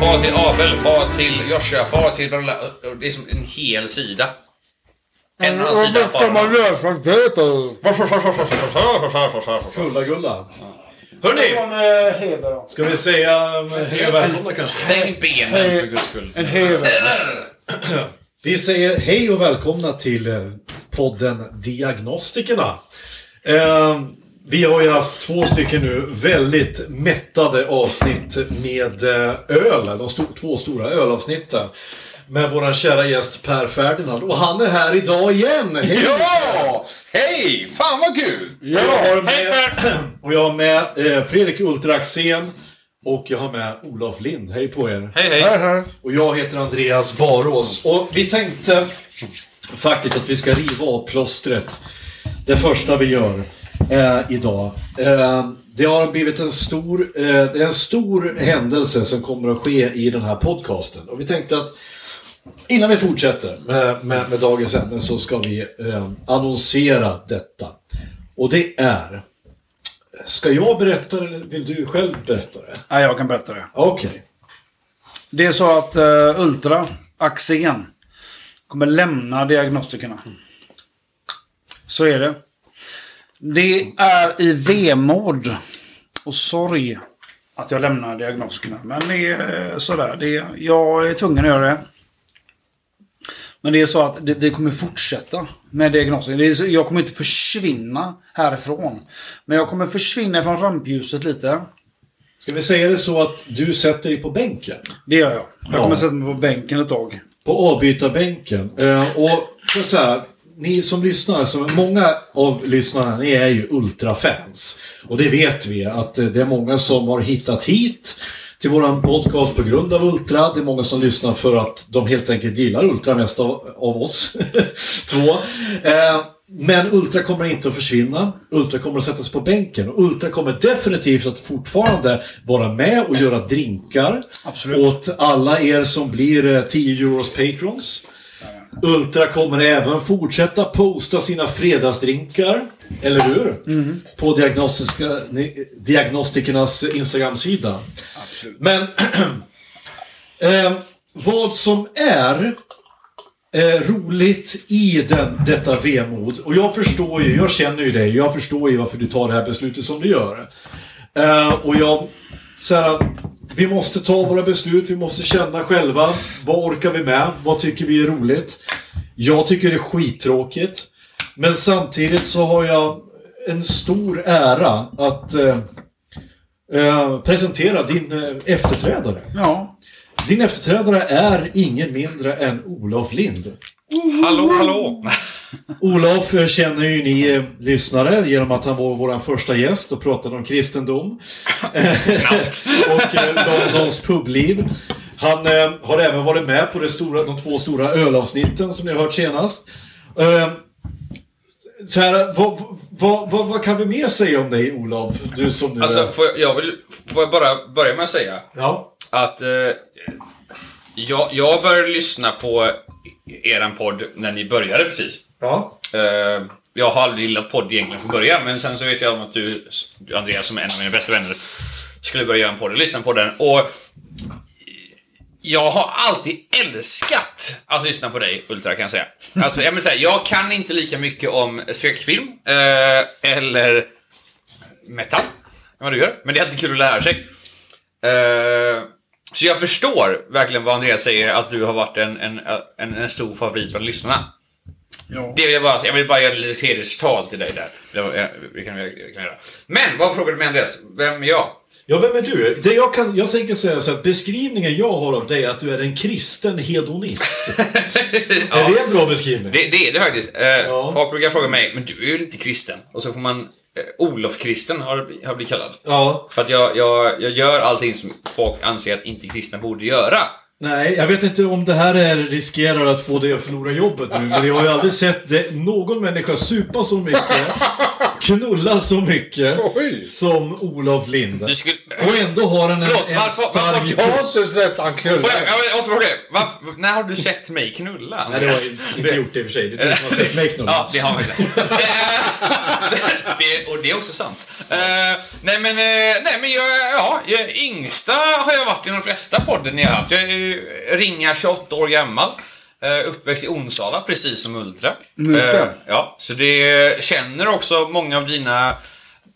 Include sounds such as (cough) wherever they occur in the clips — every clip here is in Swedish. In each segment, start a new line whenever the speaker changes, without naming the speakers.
Far till Abel, far till Joshua, far till... bla, bla, bla. Det är som en hel sida. En annan
Alltså,
sida bara. Varför, varför, varför, varför, varför, varför, varför?
Gulla gulla.
Hörni!
Ska vi säga eh, hej och välkomna kanske?
Stäng benen för guds skull.
Vi säger hej och välkomna till eh, podden Diagnostikerna. Eh, Vi har ju haft två stycken nu väldigt mättade avsnitt med eh, öl. De sto- två stora ölavsnitten. Med våran kära gäst Per Ferdinand. Och han är här idag igen! Hej!
Ja! Hej! Fan vad kul!
Jag har med, och jag har med eh, Fredrik Ultraxén och jag har med Olof Lind. Hej på er!
Hej hej!
Och jag heter Andreas Barås. Och vi tänkte faktiskt att vi ska riva av plåstret. Det första vi gör eh, idag. Eh, det har blivit en stor, eh, det är en stor händelse som kommer att ske i den här podcasten. Och vi tänkte att innan vi fortsätter med, med, med dagens ämne så ska vi eh, annonsera detta. Och det är... Ska jag berätta det eller vill du själv berätta det?
Nej, jag kan berätta det.
Okej.
Det är så att eh, Ultra, Axén, kommer lämna diagnostikerna. Så är det. Det är i vemod och sorg att jag lämnar diagnostikerna. Men det är eh, sådär. Det är, jag är tvungen att göra det. Men det är så att det, vi kommer fortsätta med diagnosen. Det är, så- jag kommer inte försvinna härifrån. Men jag kommer försvinna från rampljuset lite.
Ska vi säga det så att du sätter dig på bänken?
Det gör jag. Jag
Ja.
kommer sätta mig på bänken ett tag.
På avbytarbänken. Eh, och så så här, ni som lyssnar, som många av lyssnarna, ni är ju ultrafans. Och det vet vi, att eh, det är många som har hittat hit till våran podcast på grund av Ultra. Det är många som lyssnar för att de helt enkelt gillar Ultra mest av, av oss (laughs) två. Eh, men Ultra kommer inte att försvinna. Ultra kommer att sättas på bänken. Och Ultra kommer definitivt att fortfarande vara med och göra drinkar.
Absolut.
Åt alla er som blir eh, 10 euros patrons. Ultra kommer även fortsätta posta sina fredagsdrinkar, eller hur? På diagnostiska, ni- diagnostikernas Instagram-sida. Men (clears throat) eh, vad som är eh, roligt i den, detta vemod. Och jag förstår ju, jag känner ju dig, jag förstår ju varför du tar det här beslutet som du gör. Eh, och jag, så här, vi måste ta våra beslut, vi måste känna själva. Vad orkar vi med? Vad tycker vi är roligt? Jag tycker det är skittråkigt. Men samtidigt så har jag en stor ära att eh, eh, presentera din eh, efterträdare.
Ja.
Din efterträdare är ingen mindre än Olof Lind.
Hallå hallå!
Olof eh, känner ju ni eh, lyssnare genom att han var vår första gäst och pratade om kristendom. (laughs) och eh, Londons publiv. Han eh, har även varit med på det stora, de två stora ölavsnitten som ni har hört senast. Eh, så här, vad, vad, vad, vad kan vi mer säga om dig Olof? Du som nu
Alltså,
är...
får jag, jag vill, får jag bara börja med att säga
Ja.
att eh, jag, jag började lyssna på eran podd när ni började precis.
Ja.
Eh, jag har aldrig gillat podd egentligen från början, men sen så vet jag om att du, Andreas, som är en av mina bästa vänner, skulle börja göra en podd och lyssna på den. Och jag har alltid älskat att lyssna på dig, Ultra, kan jag säga. Alltså, jag, menar så här, jag kan inte lika mycket om skräckfilm, eh, eller metal, än vad du gör. Men det är alltid kul att lära sig. Eh, så jag förstår verkligen vad Andreas säger, att du har varit en, en, en, en stor favorit bland lyssnarna.
Ja.
Det vill jag bara säga. Jag vill bara göra lite hederstal till dig där. Det var- eh, Vi kan, vi kan göra. Men, vad frågade du mig Andreas? Vem är jag?
Ja, vem är du? Det jag, kan, jag tänker säga så att beskrivningen jag har av dig är att du är en kristen hedonist.
(laughs)
Är det en bra beskrivning?
Det, det är det faktiskt. Eh,
Ja.
Folk brukar fråga mig, men du är ju inte kristen. Och så får man... Eh, Olof-kristen har, jag bli- har jag blivit kallad.
Ja.
För att jag, jag, jag gör allting som folk anser att inte kristna borde göra.
Nej, jag vet inte om det här är, riskerar att få dig att förlora jobbet nu, men jag har ju aldrig sett det, någon människa supa så mycket, knulla så mycket,
Oj.
som Olof Lind.
Du skulle...
Och ändå har han en,
Förlåt,
en
varför- varför-
stark...
Jag har inte sett han knulla.
Får jag, jag vill- jag måste fråga dig, varför, när har du sett mig knulla?
Nej, det har jag inte gjort i och för sig. Det är du som har sett mig knulla.
Ja, det har man inte.
(laughs)
Eh, det, och det är också sant. Eh, nej men, eh, nej, men jag, ja, jag, yngsta har jag varit i de flesta podden jag har haft. Jag är ju ringa 28 år gammal. eh, Uppväxt i Onsala, precis som Ultra.
Just det.
Eh, ja, så det känner också många av dina,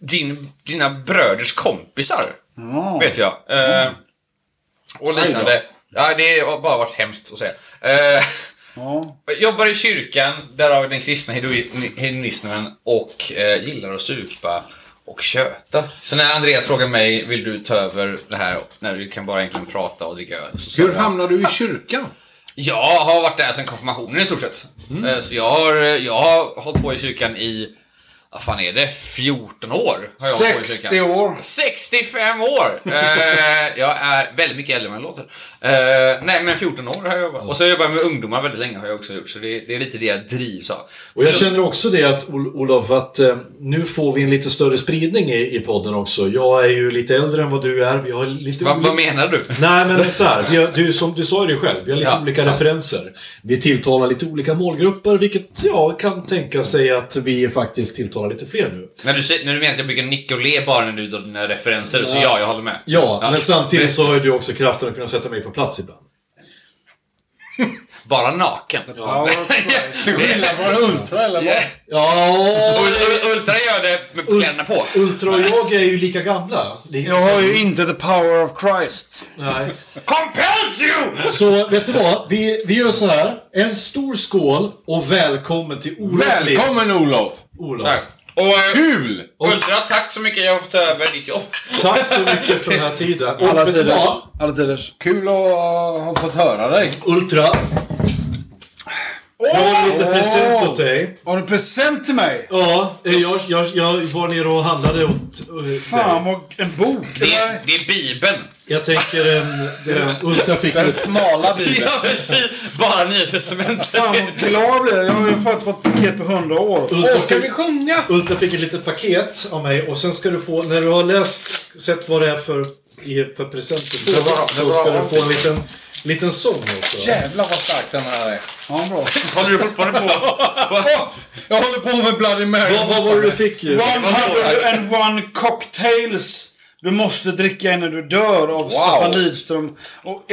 din, dina bröders kompisar. Vet jag. Eh, och liknande. Ja, det har bara varit hemskt att säga. Eh,
Ja.
jag Jobbar i kyrkan, därav den kristna hedoi- hedonismen och eh, gillar att supa och köta. Så när Andreas frågar mig, vill du ta över det här när du kan bara egentligen prata och dricka öl? Så sa
Hur
jag,
hamnade du i kyrkan?
jag har varit där sedan konfirmationen i stort sett.
Mm.
Eh, Så jag har, jag har hållit på i kyrkan i, vad fan är det, 14 år? Har jag hållit på i kyrkan.
60 år.
65 år! Eh, jag är väldigt mycket äldre än vad jag låter. Eh, nej, men 14 år har jag jobbat. Och så har jag jobbat med ungdomar väldigt länge har jag också gjort. Så det, det är lite det jag drivs av.
Och jag känner också det att Ol- Olof, att eh, nu får vi en lite större spridning i, i podden också. Jag är ju lite äldre än vad du är. Vi har lite
Vad,
olika-
vad menar du?
Nej, men så här, vi har, du, som du sa ju det själv, vi har lite
Ja,
olika
sant.
referenser. Vi tilltalar lite olika målgrupper, vilket jag kan tänka sig att vi faktiskt tilltalar lite fler nu.
när, du säger, när du menar att jag brukar nicka och le bara när du drar dina referenser, så ja, jag håller med.
Ja, men samtidigt
det-
så har ju du också kraften att kunna sätta mig på plats ibland.
Bara naken.
Ja, Till
(laughs)
skillnad från Ultra eller vad?
Yeah.
Ja,
Ul- ul- Ultra gör det med kläderna på.
Ultra och jag är ju lika gamla. Liksom.
Jag har ju inte the power of Christ.
Nej.
Compels you!
Så vet du vad? Vi, vi gör så här. En stor skål och välkommen till Olof Lind.
Välkommen Olof!
Olof.
Tack. Och, eh,
Kul!
Ultra, tack så mycket. Jag har fått ta över ditt jobb.
Tack så mycket för den här tiden. Och
Alla
vet du
tiders.
vad?
Alla tiders.
Kul att ha fått höra dig.
Ultra. Jag har en liten present åt dig.
Har du present till mig?
Ja, eh, jag, jag, jag var nere och handlade åt eh,
Fan
dig.
vad... En bok?
Det
eller?
är, det är Bibeln.
Jag tänker en... den- Ultra fick
Den
(laughs)
ett...
smala bilen.
Ja, precis. Bara nyhetsresumentet.
Fan vad glad jag blir. Jag har ju fått fått paket på 100 år.
Åh, ska vi sjunga?
Ultra fick ett litet paket av mig och sen ska du få, när du har läst, sett vad det är för, i- för present du
Det var-
får,
det
så
var
ska du
allt.
få en liten, liten sång också.
Jävlar vad stark den här är.
Ja, bra.
Håller du
(laughs)
fortfarande på?
Åh, jag håller på med Bloody Mary.
Vad, vad var det du fick ju?
101 cocktails. Du måste dricka innan du dör av Staffan Lidström och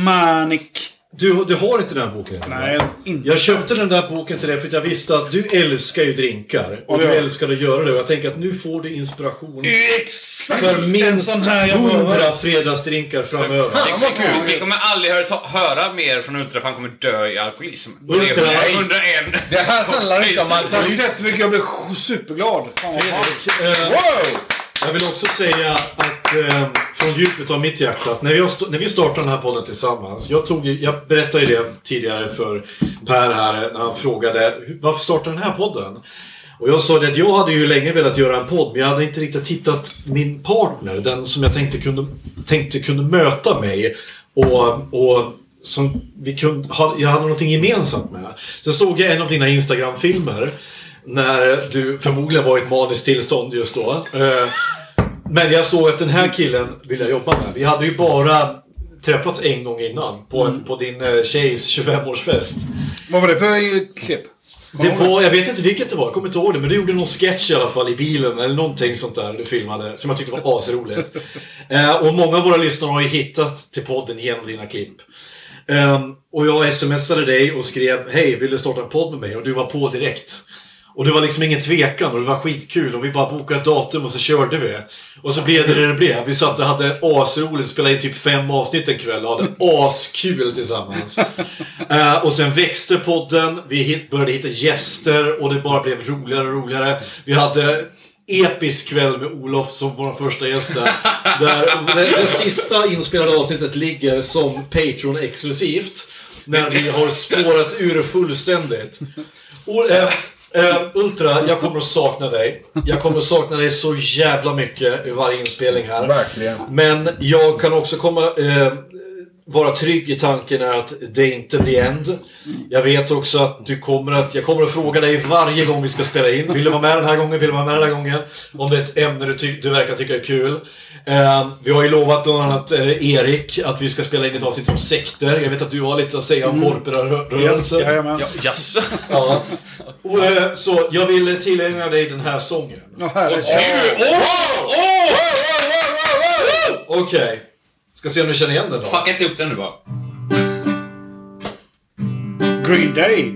Elekmanik.
Du, du har inte den här boken?
Nej, inte.
Jag köpte den där boken till dig för att jag visste att du älskar ju drinkar. Och
Ja.
du älskar att göra det. Och jag tänker att nu får du inspiration
Exakt!
för
en
minst
sån här jag behöver.
100 fredagsdrinkar framöver.
Fan vad kul!
Vi kommer aldrig höra, ta, höra mer från Ultra för han kommer dö i alkoholism.
Ultra?
Det är 101.
Det här handlar inte om
Har du
alkoholism.
sett hur mycket jag blev sj- superglad? Fan vad bra.
Fredrik, eh,
Wow!
jag vill också säga att eh, från djupet av mitt hjärta att när, jag st- när vi startade den här podden tillsammans. Jag, tog, ju- jag berättade ju det tidigare för Per här när han frågade "Hur- varför startade den här podden? Och jag sa det att jag hade ju länge velat göra en podd men jag hade inte riktigt hittat min partner. Den som jag tänkte kunde, tänkte kunde möta mig. Och, och som vi kunde, ha- jag hade någonting gemensamt med. Sen såg jag en av dina Instagram-filmer. När du förmodligen var i ett maniskt tillstånd just då. Eh, Men jag såg att den här killen vill jag jobba med. Vi hade ju bara träffats en gång innan. På, på din eh, tjejs 25-årsfest.
Vad var det för eh, klipp?
Det var, jag vet inte vilket det var, jag kommer inte ihåg det, men du gjorde någon sketch i alla fall i bilen eller någonting sånt där du filmade som jag tyckte var (laughs) asroligt. eh, och många av våra lyssnare har ju hittat till podden genom dina klipp. Ehm, och jag smsade dig och skrev Hej, vill du starta en podd med mig? Och du var på direkt. Och det var liksom ingen tvekan och det var skitkul och vi bara bokade ett datum och så körde vi. Och så blev det det det blev. Vi satt och hade asroligt, spelade in typ fem avsnitt en kväll och hade askul tillsammans. Eh, och sen växte podden, vi hit, började hitta gäster och det bara blev roligare och roligare. Vi hade episk kväll med Olof som vår första gäst där. där det, det sista inspelade avsnittet ligger som Patreon-exklusivt. När vi har spårat ur fullständigt. Och, eh, eh, Ultra, jag kommer att sakna dig. Jag kommer att sakna dig så jävla mycket i varje inspelning här.
Verkligen.
Men jag kan också komma... Eh, vara trygg i tanken är att det är inte the end. Jag vet också att du kommer att... Jag kommer att fråga dig varje gång vi ska spela in. Vill du vara med den här gången? Vill du vara med den här gången? Om det är ett ämne du, ty- du verkar tycka är kul. Eh, vi har ju lovat bland annat eh, Erik att vi ska spela in ett avsnitt om sekter. Jag vet att du har lite att säga om korprörelsen.
Jajamän.
Mm. Ja, jaså?
Ja. Och, eh, så jag vill tillägna dig den här sången.
Ja, härligt.
Okej. Ska se om du känner igen den då.
Fucka inte upp den nu bara.
Green Day.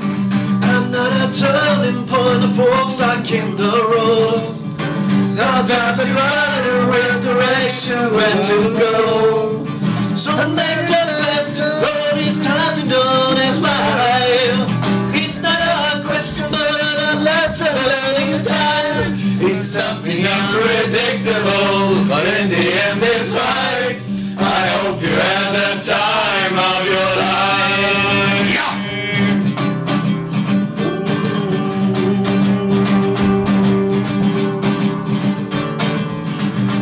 Another turning point, a fork stuck in the road. Now that the right and race direction where to go. So I made the best road is touching down as my life. It's not a question, but a lesson learning time. It's something unpredictable, but in the end it's right. I hope you had the time of your life.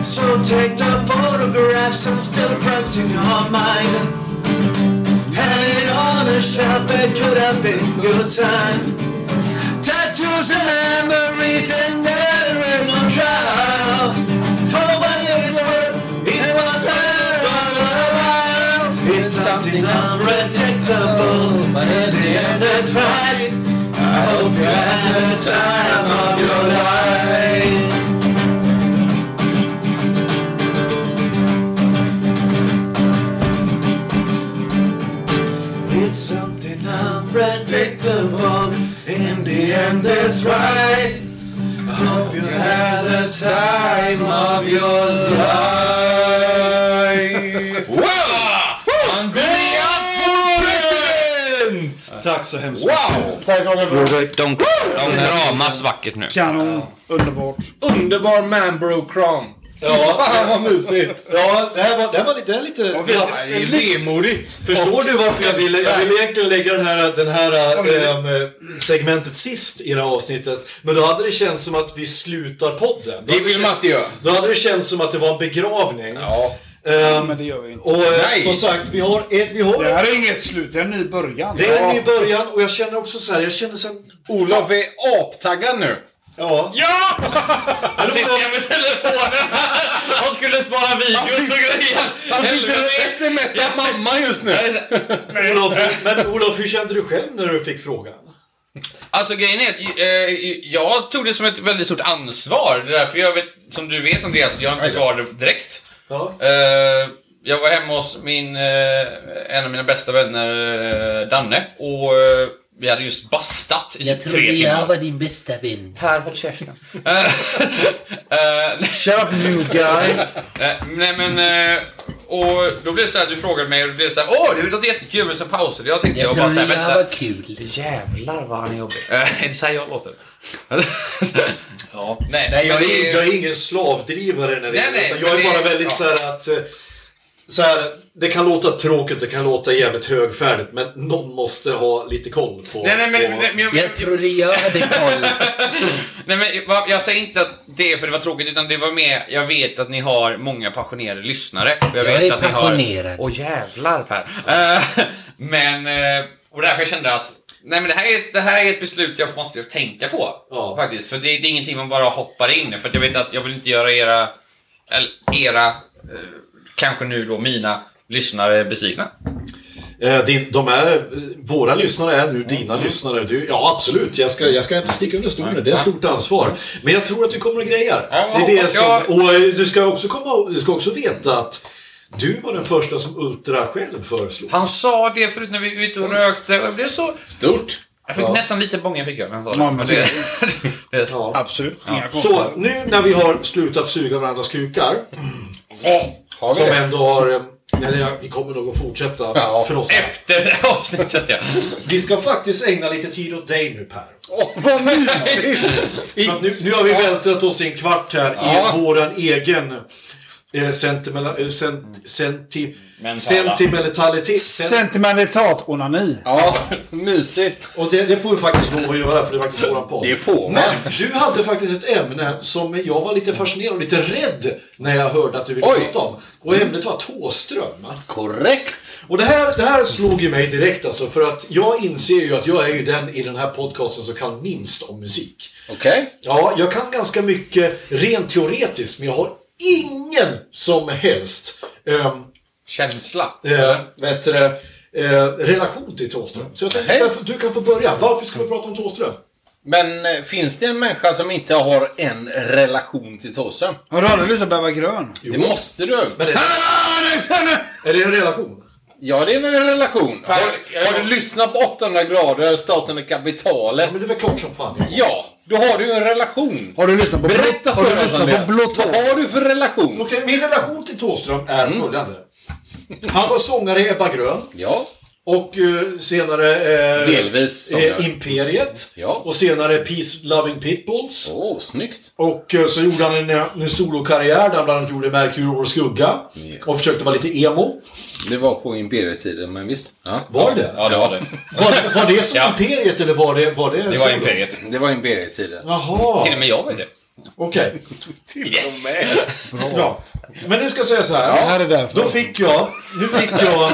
So take the photographs and still frames in your mind. Hang it on a shelf, it could have been good times. Tattoos and memories and there is no trial. For what it's worth, it was worth all the while. It's something unpredictable, but in the end it's right. I hope you had the time of your life. It's something unpredictable. In the end, it's right. I hope you had the time of your life.
Wow!
Tack så hemskt
Wow! De, de kramas vackert nu.
Kanon. Underbart.
Underbar manbro-kram. Ja. Fan vad mysigt.
Ja, det här var, det här var lite... Det här lite
Det här är vemodigt.
Förstår du varför jag ville... Jag ville egentligen lägga den här, den här ehm, segmentet sist i det här avsnittet. Men då hade det känts som att vi slutar podden. Då
Det vill
hade,
Matti göra.
då hade det känts som att det var en begravning.
Ja.
Ehm,
Men det gör vi inte.
och eh,
Nej.
som sagt, vi har ett... Vi har
Det här är inget slut, det är en ny början.
Det är i början och jag känner också så här, jag känner sen...
Olof är aptaggad nu.
Ja.
Ja! Han sitter jag med telefonen. Han skulle spara videos och grejer.
Han sitter och smsar mamma just nu.
Olof, men Olof, hur kände du själv när du fick frågan?
Alltså grejen är att eh, jag tog det som ett väldigt stort ansvar. Det är därför jag vet, som du vet Andreas, jag inte svarade direkt.
Ja.
Eh, jag var hemma hos min, eh, en av mina bästa vänner, eh, Danne, och eh, vi hade just bastat i typ
Jag
tre
trodde jag
timmar.
var din bästa vän.
Per, håll käften. Eh,
Shut up new guy.
Nej, nej men... eh, Och då blev det så här, du frågade mig och då blev det så här, åh, det låter jättekul, men sen pausade jag och tänkte jag,
Jag
bara
trodde
såhär,
jag
vänta.
var kul.
Jävlar vad han är jobbig. Eh, Är det såhär jag låter? (laughs) ja. Nej,
Nej, jag
men det-
är, jag är ingen slavdrivare när det
Nej,
gäller
nej,
utan Jag är
men det-
bara väldigt
ja.
så här att... eh, Så här, det kan låta tråkigt, det kan låta jävligt högfärdigt, men någon måste ha lite koll på...
Nej, nej, men,
på...
nej, men, jag,
Jag trodde jag hade koll.
nej, men vad- jag säger inte att det är för det var tråkigt, utan det var mer, jag vet att ni har många passionerade lyssnare. och
Jag
vet
är
att ni har-
passionerad.
Åh jävlar Per. Eh, (laughs) men, eh, och därför jag kände att Nej men det här, är, det här är ett beslut jag måste tänka på.
Ja.
Faktiskt. För det, det är ingenting man bara hoppar in i. För att jag vet att jag vill inte göra era, eller era, eh, kanske nu då mina lyssnare besvikna.
Eh, din, de är, eh, våra lyssnare är nu dina lyssnare. Du, ja, absolut. Jag ska, jag ska inte sticka under stolen. Det är ett stort ansvar. Men jag tror att du kommer att greja
Ja, jag
det. är det
hoppas
som,
jag.
och eh, du ska, också komma, du ska också veta att du var den första som Ultra själv föreslog.
Han sa det förut när vi var ute och rökte och jag blev så...
Stort.
Jag fick nästan lite bånga fick jag när han sa (laughs) det.
Ja, men
Men det, det är
Ja.
Absolut. Inga
Så
konstigheter.
nu när vi har slutat suga varandras kukar,
Mm.
Har vi
som
det?
ändå har... eh, Eller ja, vi kommer nog att fortsätta
Ja.
frossa.
Efter det här avsnittet ja.
Vi ska faktiskt ägna lite tid åt dig nu Per.
Vad mysigt!
(laughs) För att Nu, nu har vi vältrat oss i en kvart här
Ja.
i våran egen eh, sentimela, eh, sent, senti, sentimentalitet. Sen,
Sentimentalt onani.
Ja, (laughs) mysigt.
och det, det får vi faktiskt lov att göra för det är faktiskt våran podd.
Det får man.
Men du hade faktiskt ett ämne som jag var lite fascinerad och lite rädd när jag hörde att du ville
Oj.
prata om. Och ämnet var Tåström.
Korrekt.
Och det här, det här slog ju mig direkt alltså, för att jag inser ju att jag är ju den i den här podcasten som kan minst om musik.
Okej.
Ja, jag kan ganska mycket rent teoretiskt, men jag har ingen som helst ehm,
Känsla.
eh, vad heter det, eh, relation till Thåström. Så jag tänkte
Hej.
så här, du kan få börja. Varför ska vi prata om Thåström?
Men eh, finns det en människa som inte har en relation till Thåström?
Har du aldrig lyssnat på Ebba Grön?
Det måste du.
Men är, är det en relation?
Ja, det är väl en relation. Har,
jag-
har du lyssnat på 800 grader, staten och kapitalet?
Ja, men det är väl klart som fan.
Ja, då har du ju en relation.
Har du lyssnat på
Berätta
Blå- har
för
du
oss,
lyssnat
Andrea.
på Blå tår?
Vad har du för relation?
Okej, min relation till Thåström är följande. Han var sångare i Ebba Grön.
Ja,
Och eh, senare... Eh,
Delvis sångare.
eh, Imperiet.
Ja.
Och senare Peace Loving Pitbulls.
åh, snyggt.
Och eh, så gjorde han en, eh, en solokarriär där han bland annat gjorde Merkur och Skugga. Och försökte vara lite emo.
Det var på Imperietiden, men visst. Ja.
Var det
Ja, det var det.
var, var det som
Ja.
Imperiet eller var det... Var det,
Det var Imperiet.
Det var Imperietiden.
Jaha,
Till och med jag var det.
okej.
Yes!
Ja. Men nu ska jag säga så här.
Det här är därför.
Då fick jag... Nu fick jag...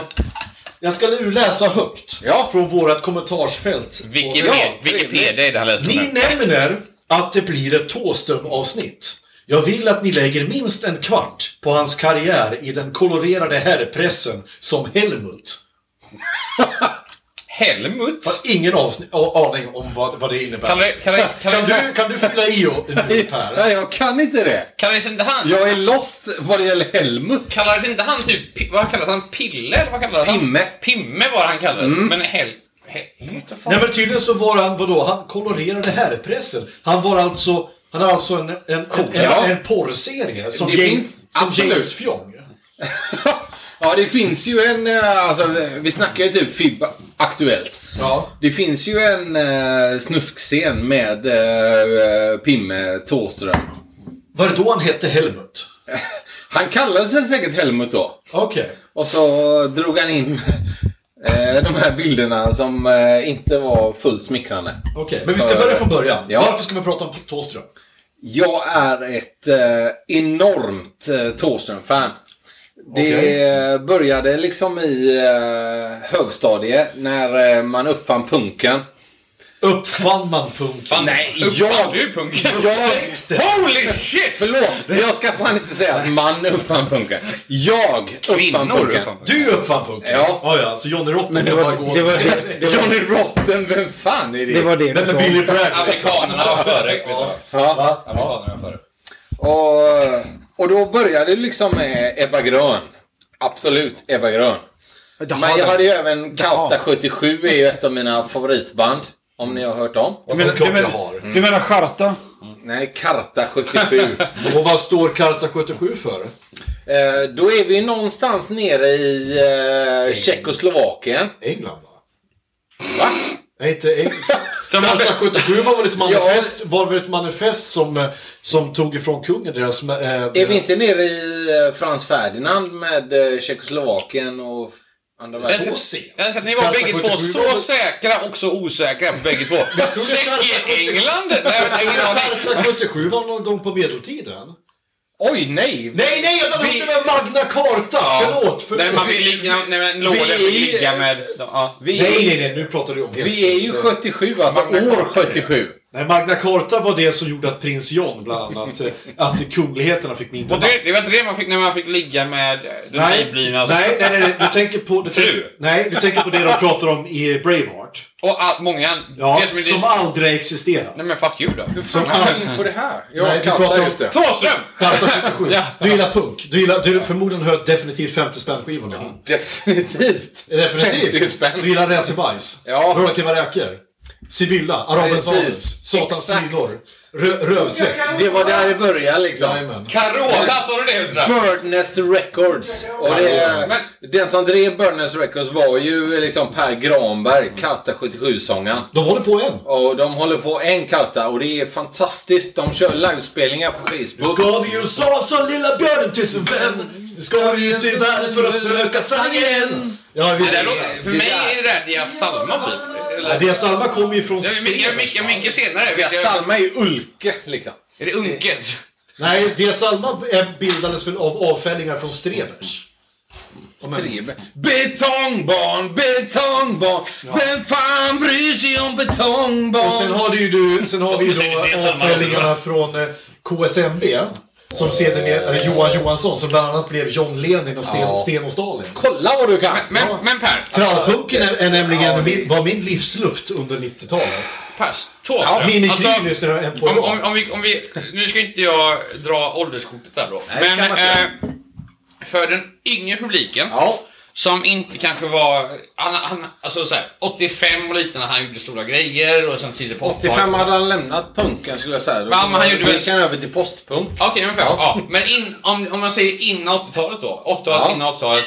Jag ska nu läsa högt
Ja.
från vårt kommentarsfält.
Wikipedia,
Ja,
Wikipedia är det han läser
Ni
med.
nämner att det blir ett Thåström-avsnitt. Jag vill att ni lägger minst en kvart på hans karriär i den kolorerade herrpressen som Helmut.
Helmut?
Jag har ingen avsnitt, a- aning om vad, vad det innebär.
Kan
Kan,
det, kan det, kan det,
du, kan du fylla i och- nu, Per?
Nej, jag kan inte det.
kallades inte han...
Jag är lost vad det gäller Helmut.
Kallades inte han typ... pi- Vad kallades han? Pille? Eller vad kallades han?
Pimme.
Pimme Mm. var han kallades. Men Hel... Helmut? vad fan?
Nej men tydligen så var han, vadå, han kolorerade herrpressen. Han var alltså, han har alltså en, en, en,
ja.
en, en porrserie som,
Det finns,
James, som
absolut.
James Fjong.
(laughs) ja, det finns ju en... eh, Alltså, vi snackar ju typ FIB Aktuellt.
Ja.
Det finns ju en eh, snuskscen med eh, Pimme Thåström. (laughs)
Var det då han hette Helmut?
Han kallade sig säkert Helmut då.
Okej.
Och så drog han in (laughs) eh, de här bilderna som eh, inte var fullt smickrande.
Okej, men vi ska börja från början.
Ja.
Varför ska vi prata om Thåström?
Jag är ett eh, enormt eh, Thåström-fan. Det eh, började liksom i eh, högstadiet när eh, man uppfann punken.
Uppfann man punken?
Fan,
Nej,
uppfann
jag-
du punken?
Jag
Holy shit!
Förlåt, jag ska fan inte säga att man uppfann punken. Jag uppfann
Kvinnor
punken.
uppfann punken.
Du uppfann punken?
Ja.
Ja, ja, så Johnny Rotten
det
kan bara
var,
gå...
det
(laughs)
var det,
Johnny Rotten, vem fan är det?
det, var det du
Men
sa.
med Billy Bragg.
Amerikanerna var före. vet du.
Ja.
Amerikanerna var före.
Och, och då började det liksom med Ebba Grön. Absolut, Ebba Grön.
Det har
Men jag
den.
hade ju även Kauta 77 är ju ett av mina favoritband. Om ni har hört om.
Du menar-
klart
du menar-
jag har.
Du menar Charta?
Nej, Karta 77.
Och vad står Karta 77
(laughs)
för?
eh, då är vi någonstans nere i eh, Tjeckoslovakien.
England, va?
Va?
Nej, inte England. Karta 77 var väl ett manifest, var väl ett manifest som, eh, som tog ifrån kungen deras... eh,
Är vi inte nere i eh, Frans Ferdinand med eh, Tjeckoslovakien och andra
Så
världskriget?
sent.
Jag älskar att ni var bägge två
77
så säkra och så osäkra på bägge två.
trodde Karta
Tjeckien, England? Nej, jag har ingen aning.
Karta 77 var någon gång på medeltiden?
Oj, nej!
Nej, nej, jag menar inte med Magna Carta! Förlåt, förlåt.
Nej, man vill ligga... Nej, men lådan
Vi-
fick ligga med... Ja.
Vi
Nej,
är,
nej, nej, nu pratar du om helt...
vi är ju 77, alltså
Man-
år 77.
Nej, Magna Carta var det som gjorde att prins John, bland annat, eh, att kungligheterna fick mindre
Och det, det var inte det man fick när man fick ligga med den nyblivna...
nej, nej, nej, nej, du tänker på... Du
alltså. Fru.
tänker, nej, du tänker på det de pratar om i Braveheart.
Och allt, många...
Ja,
det som är
som
det,
aldrig har existerat.
Nej men fuck you då. Hur
Som
fan
kom in på det här? Ja,
Nej, vi pratar
Kanta,
om-
just det.
Thåström!
Charta 77. Du gillar punk. Du gillar, du förmodligen hört definitivt 50 spänn-skivorna.
Definitivt.
Definitivt.
50 spänn.
Du gillar Resi Bajs.
Ja.
Röka Varäker. Sibylla. Arabens
Precis.
Anus. Satans
Exakt.
kvinnor. Rö- Rövsvett.
Det var där det började liksom.
Jajamän.
Carola, sa du det Ultra?
Birdnest Records. Och det,
Men-
den som drev Birdnest Records var ju liksom Per Granberg, Karta 77-sångaren.
De håller på än.
Och de håller på en karta och det är fantastiskt. De kör livespelningar på Facebook.
Gav ju USA som lilla björnen till sin vän. Nu ska vi ut i världen för att söka sanningen.
Ja,
Det
visst.
där låter- För mig är det där Dias Salma typ. Eller,
Ja, Dias Salma kommer ju från
det är mycket, mycket, mycket senare. vet jag.
Salma är ju Ulke liksom.
Är det Unket?
Nej, Dias Salma är- bildades väl av avfällingar från Strebers.
Strebe.
Betongbarn, betongbarn. Vem fan bryr sig om betongbarn?
Och sen har, du ju du, sen har vi ju
Det är säkert
då
det som
avfällingarna
man-
från eh, KSMB. Som sedermera eh, Johan Johansson, som bland annat blev John Lenin och Sten, Sten och Stalin.
Kolla vad du kan!
Men, men Per,
Trallpunken är, är nämligen min, var min livsluft under 90-talet.
pass.
Ja,
Thåström.
Mini
Alltså,
alltså, lyssnade jag på
om,
idag.
om, om, vi, om vi... Nu ska inte jag dra ålderskortet där då.
Nej, det
men
ska man inte.
eh, för den yngre publiken.
Ja.
Som inte kanske var... Han, han, alltså så här, 85 och lite när han gjorde stora grejer och sen tidigare på
85 hade han lämnat punken skulle jag säga. Då
Ja, men han gjorde väl-
gick han över till postpunk.
Okej, ungefär. Ja. Men in, om, om man säger innan 80-talet då. 80-talet,
Ja. Mm.
innan 80-talet.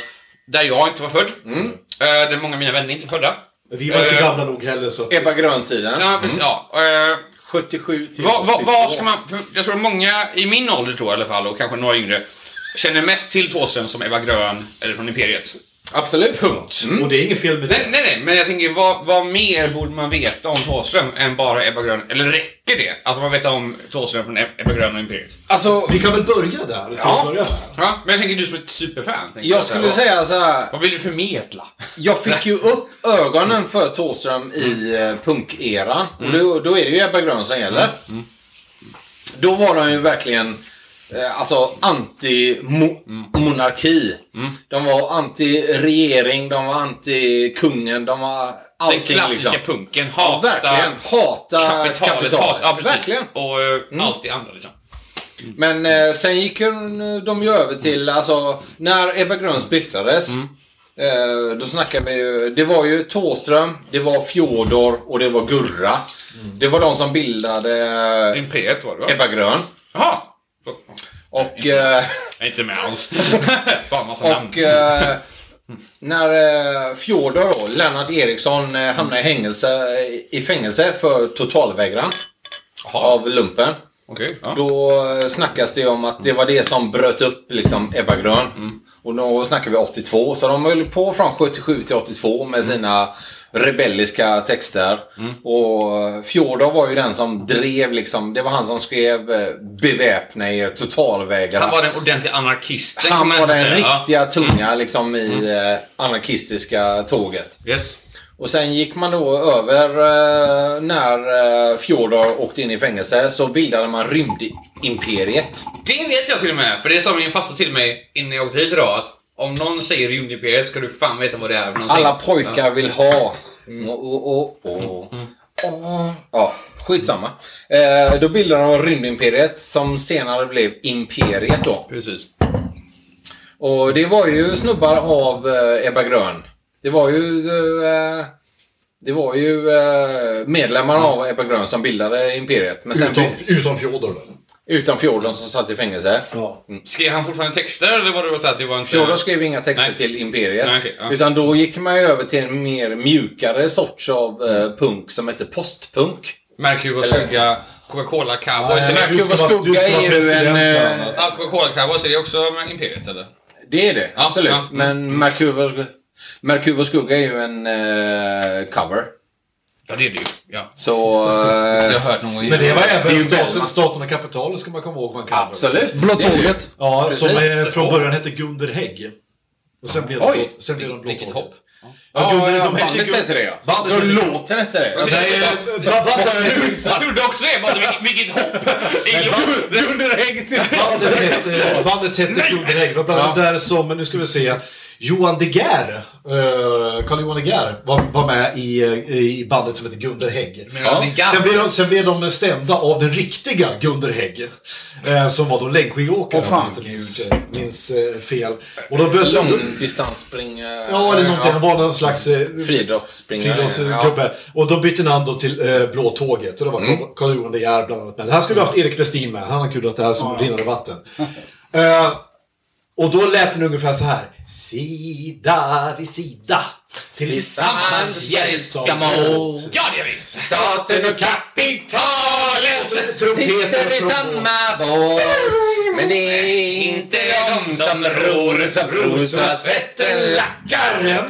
Där jag inte var född. Eh, där många av mina vänner inte är födda.
Vi var inte
Eh,
gamla nog heller så...
Ebba Grön-tiden.
Ja, precis. Ja. Eh,
77 till
vad, vad, vad ska
82.
man... för Jag tror många i min ålder tror jag i alla fall, och kanske några yngre, känner mest till Thåström som Eva Grön eller från Imperiet.
Absolut.
Punkt.
mm.
Och det är inget fel med
Nej,
det.
nej, nej, men jag tänker vad, vad mer borde man veta om Thåström än bara Ebba Grön? Eller räcker det att man vet om Thåström från Ebba Grön och Imperiet?
Alltså,
Vi kan väl börja där? till
Ja.
att börja med.
Ja, men jag tänker du som ett superfan. tänker
jag
så
skulle
här,
säga så här.
Vad vill du förmedla?
Jag fick ju upp ögonen för Thåström i eh, punkeran. Och
Mm.
då, då är det ju Ebba Grön som gäller. Då var de ju verkligen eh, alltså anti-monarki.
Mm.
De var anti-regering, de var anti-kungen, de var allting
Den klassiska
liksom.
punken.
Ja,
Hata
verkligen. Hata
kapitalet.
kapitalet.
Hata, ja, precis.
verkligen. Mm.
Och eh, allt det andra liksom.
Men eh, sen gick hon- de ju över till, alltså, när Ebba Grön splittrades. Eh, då snackade vi ju, det var ju Thåström, det var Fjodor och det var Gurra. Det var de som bildade eh,
Imperiet var det va?
Ebba Grön.
Jaha!
Och, eh,
Nej, Inte med alls. (laughs) Bara massa
och
namn.
eh, när eh, Fjodor då, Lennart Eriksson, eh, hamnade i, hängelse, i fängelse för totalvägran
Jaha,
av lumpen.
okej. ja.
Då eh, snackas det om att det var det som bröt upp liksom Ebba Grön.
Mm.
Och då snackar vi 82. Så de höll på från 77 till 82 med
Mm.
sina rebelliska texter. Och eh, Fjodor var ju den som drev liksom. Det var han som skrev eh, Beväpna er, totalvägra.
Han var den ordentliga anarkisten kan
Han
man
var
nästan
den
säga. Ja. Mm.
riktiga tunga liksom i eh, anarkistiska tåget.
Yes.
Och sen gick man då över eh, när eh, Fjodor åkte in i fängelse så bildade man Rymdimperiet.
Det vet jag till och med, för det sa min fasta till mig innan jag åkte hit idag att om någon säger rymdimperiet ska du fan veta vad det är för någonting.
Alla pojkar vill ha.
Mm.
Och, och, och, och. Och- Ja, skitsamma. Eh, då bildade de Rymdimperiet som senare blev Imperiet då.
Precis.
Och det var ju snubbar av eh, Ebba Grön. Det var ju... Eh, det var ju eh, medlemmar
Mm.
av Ebba Grön som bildade Imperiet. Men sen
Utom, utom Fjodor då.
utan Fjodor som satt i fängelse.
Ja.
Skrev han fortfarande texter eller var det bara så att det var inte...
Fjodor skrev inga texter
Nej.
till Imperiet.
Nej, okej, ja.
Utan då gick man ju över till en mer mjukare sorts av eh, punk som hette postpunk.
Mercury och Sugga, Coca-Cola Cowboys. eller-
Mercury och
ska vara- du
Skugga
ska vara
är ju
president
en...
bland
eh,
annat.
Ja, Coca-Cola Cowboys, är det också med Imperiet eller?
Det är det,
Ja,
absolut.
ja.
Men Merkur Merkur och Skugga är ju en eh, cover.
Ja, det är det ju. Ja.
Så...
Jag (laughs) har
Eh,
hört någon gång.
Men det var även staten,
Bellman.
staten och kapitalet ska man komma ihåg. Man kan.
absolut.
Blå tåget.
Ja, som
Precis.
eh, från början hette Gunder Hägg. Och sen blev
Oj,
de, sen blev de
vilket
blåkåriga.
hopp.
Ja,
gubben,
ja,
de Eh,
bandet
heter ju-
hette det ja.
Bandet
Då
hette det.
låten hette det. Ja, det är ju...
Jag trodde också det, bara, vilket, vilket hopp! Under
Bandet hette, bandet hette Fjorden Hägg. Det var bland annat där som, nu ska vi se, Johan De Geer, eh, Carl Johan De Geer var, var med i, eh, i bandet som heter Gunder Hägg.
Ja. De Geer?
Sen, blev de, sen blev de stämda av den riktiga Gunder Hägg. Eh, som var då längdskidåkare.
Åh, fan.
om jag inte minns, minns eh, fel. Och då böt de...
Långdistansspring... eh,
Ja, eller någonting. Han var någon slags... eh,
Friidrottsspringare.
Friidrottsgubbe. Och de bytte namn då till eh, Blå tåget. Och det var Carl Johan De Geer bland annat med. Det här skulle vi haft Erik Westin med. Han har kurat det här som rinnande vatten. Eh, och då lät den ungefär så här. Sida vid sida. Tillsammans hjälps de åt.
Ja, det gör vi!
Staten och kapitalet sitter i samma båt. Men det är inte de som ror som rosar svetten lackar.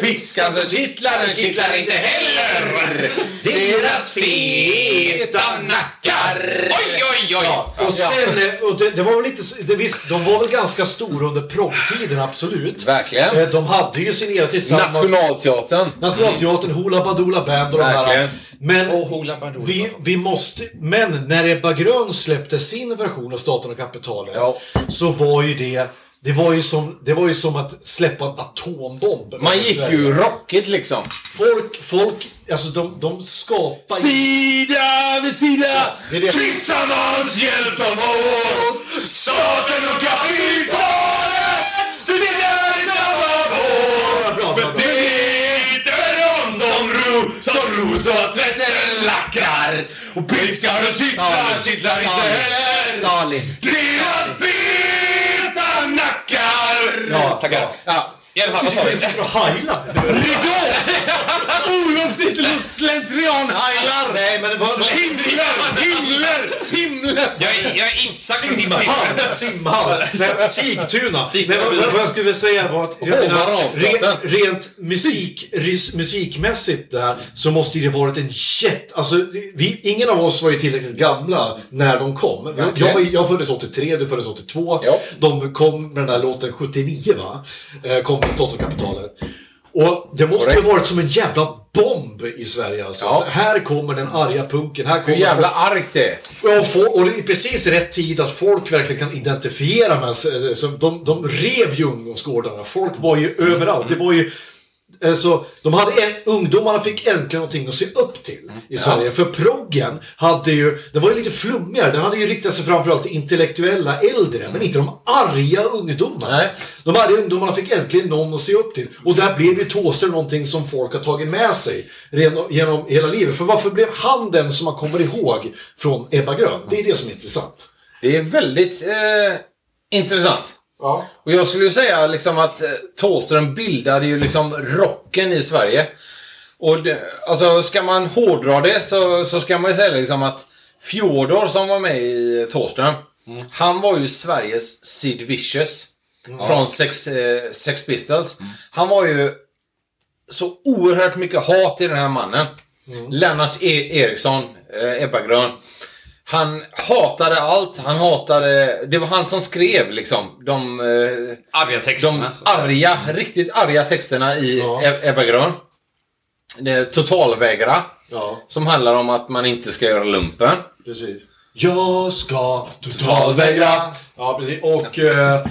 Piskan som kittlar den kittlar alltså, inte heller. Deras feta nackar.
Oj, oj, oj!
Och sen, eh, och det, det var väl inte så- det, visst, de var väl ganska stora under proggtiden, absolut.
Verkligen.
Eh, De hade ju sin era tillsammans.
Nationalteatern.
Nationalteatern, Hoola Badoola Band och de här.
Verkligen.
Men
Och Hoola Badoola.
vi, vi måste... Men när Ebba Grön släppte sin version av Staten och kapitalet
Ja.
så var ju det... Det var ju, som, det var ju som att släppa en atombomb.
Man
över
gick
Sverige.
ju rockigt liksom.
Folk, folk, alltså de, de skapar ju...
Sida vid sida.
Det är det.
Tillsammans hjälps de åt. Staten och kapitalet sitter i samma båt.
Bra, bra, bra.
Det är inte de som ro, som rosor svetten lackar. Och piskar och kittlar, kittlar inte heller.
Stalin.
Deras feta nackar.
Ja,
Tackar.
Ja.
I alla fall, vad sa vi?
Sitter och heilar.
Ridå! Olof sitter och slentrianheilar. Nej, men det
var-
Himlar, himlar, himlar.
Jag är, jag är inte sagt min
Simhall! Simhall! Nej, Sigtuna!
Sigtuna.
Nej, vad, vad jag skulle vilja säga var att... Jag
Håvar
menar,
avpraten.
rent, rent musik, ris, musikmässigt där så måste ju det varit en jätte... Alltså, vi, ingen av oss var ju tillräckligt gamla när de kom. Jag, jag, var ju- jag föddes 83, du föddes 82.
Ja.
De kom med den där låten 79, va? Eh, Kom med Datorkapitalet. Och det måste ju
Korrekt.
ha varit som en jävla bomb i Sverige alltså.
Ja.
Här kommer den arga punken. Här
Hur
kommer
jävla argt det är.
Ja, och, få, och det är precis i rätt tid att folk verkligen kan identifiera med sig. Så De, de rev ju ungdomsgårdarna. Folk var ju överallt. Det var ju... Alltså, de hade en, ungdomarna fick äntligen någonting att se upp till i Sverige. För proggen hade ju, den var ju lite flummigare. Den hade ju riktat sig framförallt till intellektuella äldre, men inte de arga ungdomarna.
Nej.
De arga ungdomarna fick äntligen någon att se upp till. Och där blev ju Thåström någonting som folk har tagit med sig ren- genom hela livet. För varför blev han den som man kommer ihåg från Ebba Grön? Det är det som är intressant.
Det är väldigt eh, intressant.
Ja.
Och jag skulle ju säga liksom att eh, Thåström bildade ju liksom rocken i Sverige. Och det, alltså ska man hårdra det så, så ska man ju säga liksom att Fjodor som var med i Thåström, han var ju Sveriges Sid Vicious. Från Sex, eh, Sex Pistols. Han var ju så oerhört mycket hat i den här mannen. Lennart e- Eriksson, eh, Ebba Grön. Han hatade allt. Han hatade... Det var han som skrev liksom de, eh,
Arga
de
texterna. alltså.
arga, riktigt arga texterna i
Ja.
E- Ebba Grön. Det är Totalvägra.
Ja,
Som handlar om att man inte ska göra lumpen.
precis. Jag ska totalvägra. Ja, precis. Och... Eh,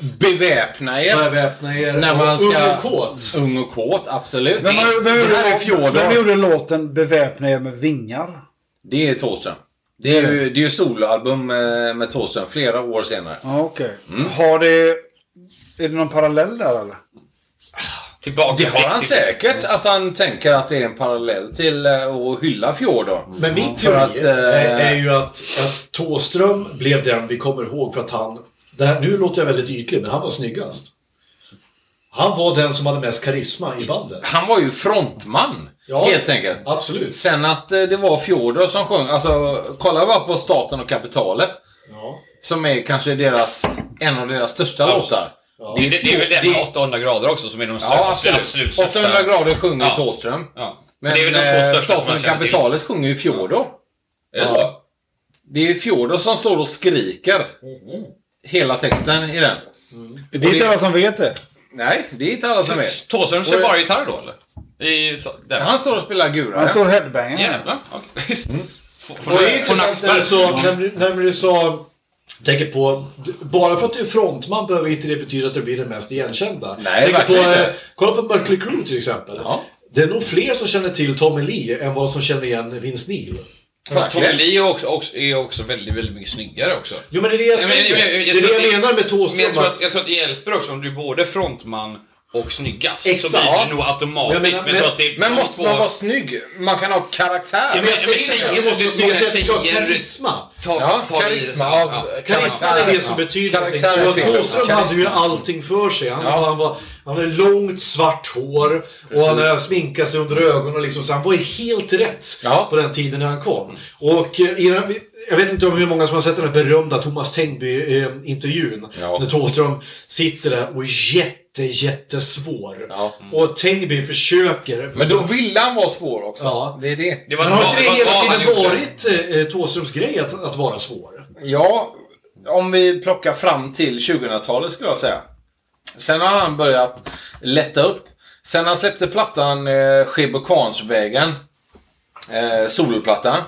Beväpna er.
Beväpna er.
När man ska...
Ung och kåt.
Ung och kåt, absolut.
Vem, har- vem,
det här
gjorde-
är Fjodor.
vem gjorde låten Beväpna er med vingar?
Det är Thåström. Det är ju, det är ju soloalbum eh, med Thåström flera år senare.
Ja, okej. Har det... Är det någon parallell där eller?
Tillbaka
Det har han
riktigt.
säkert, att han tänker att det är en parallell till eh, att hylla Fjodor.
Men min
För
teori
att,
är,
eh,
är ju att, att Tåström blev den vi kommer ihåg för att han... Det här, nu låter jag väldigt ytlig, men han var snyggast. Han var den som hade mest karisma i bandet.
Han var ju frontman,
Ja,
helt enkelt.
absolut.
Sen att eh, det var Fjodor som sjöng. Alltså, kolla bara på Staten och kapitalet.
Ja.
Som är kanske deras, en av deras största låtar.
Det, det, det är väl den med
Det-
800 grader också som är de största,
Ja, absolut.
absolut största.
800 grader sjunger
Ja.
Thåström.
Ja. Men,
Men,
det är väl de
eh,
två största som
Staten
man
och
känner till. Är
kapitalet sjunger ju Fjodor.
det så?
Det är Fjodor som står och skriker hela texten i den.
Det är inte alla som vet det.
Nej, det är inte alla som vet.
Thåström kör bara gitarr då, eller? I, så, där.
Han står och spelar gura.
Han
ja.
står headbanger.
Jävlar. Okej. Får-
Mm. Och det är
får- Får
intressant
nackspärr.
när du sa, när du, när du sa
Tänker på...
d- bara för att du är frontman behöver inte det betyda att du blir den mest igenkända.
Nej,
Tänker
verkligen
på, eh,
inte.
Kolla på Mötley Crüe till exempel.
Ja.
Det är nog fler som känner till Tommy Lee än vad som känner igen Vince Neil.
Fast Tommy
Verkligen.
Lee är också, också, är också väldigt, väldigt mycket snyggare också.
Jo, men det är det jag
Nej, men
säger.
jag- jag- jag
det är
tror
det
att-
jag menar med
Men jag
Thåström.
tror, att, jag tror att det hjälper också om du är både frontman och snyggast. Så
Exakt.
blir det nog automatiskt.
Men
Men,
jag menar-
jag tror att det är
Men
de
måste
två-
man vara snygg? Man kan ha karaktär.
Ja, men jag
men
säger
tjejer
det. Jag
måste-
måste
många
säga att vi ska ha
tjejer-
karisma.
ta,
Ja,
ta i-
karisma av... eh,
Karisma är det som betyder
Karaktär
någonting.
är
Och
fel.
Thåström
Karisma.
hade ju allting för sig. Han, han, var, han hade långt svart hår och han eh, sminkade sig under ögonen. Liksom, så han var ju helt rätt
Ja.
på den tiden när han kom. Och eh, i den, jag vet inte om hur många som har sett den här berömda Thomas Tengby-intervjun.
Ja.
När Thåström sitter där och är jätte, jättesvår.
Ja.
Och Tengby försöker.
Men då ville han vara svår också.
Ja.
Det är det.
Det var
Men har inte det
vad- vad
hela
han
tiden
gjorde.
varit eh, Thåströms grej att, att vara svår?
Ja, om vi plockar fram till 2000-talet skulle jag säga. Sen har han börjat lätta upp. Sen han släppte plattan eh, Skeb och Kvarnsvägen, eh, soloplattan,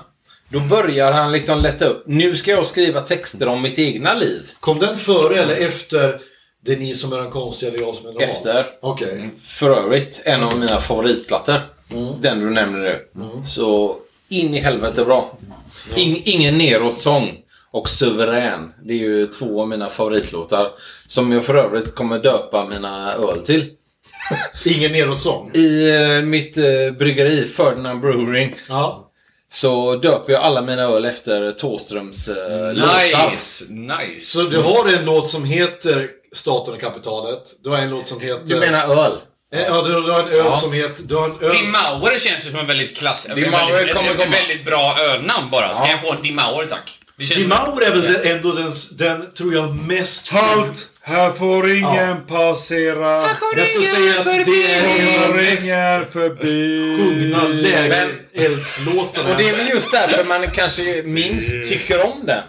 då börjar han liksom lätta upp. Nu ska jag skriva texter om mitt egna liv.
Kom den före eller efter Det är ni som är den konstiga, det är jag som är normal?
Efter.
Okej.
För övrigt, en av mina favoritplattor.
Mm.
Den du nämner nu. Så in i helvete bra. In, ingen neråt-sång och Suverän. Det är ju två av mina favoritlåtar. Som jag för övrigt kommer döpa mina öl till.
Ingen nedåt-sång?
I eh, mitt eh, bryggeri, Ferdinand Brewing,
Ja.
så döper jag alla mina öl efter Thåströms eh, låtar.
Nice, nice.
Så du har en låt som heter Staten och kapitalet. Du har en låt som heter...
Du menar öl?
Eh, Ja, du, du har en öl som heter... Du har en öl...
Tim Mauer känns ju som en väldigt klass... en
Mauer
väldigt,
kommer
en,
komma.
väldigt bra ölnamn bara. Så
Ja.
kan jag få en Tim Mauer, tack? Det känns
Tim
som-
Mauer är väl den, ändå den, s- den, tror jag, mest...
Halt! Här får ingen passera.
Jag skulle säga att det är den
Kommer
mest
ringer förbi.
sjungna
Men-
lägereldslåten.
Och det är väl just därför man kanske minst tycker om den.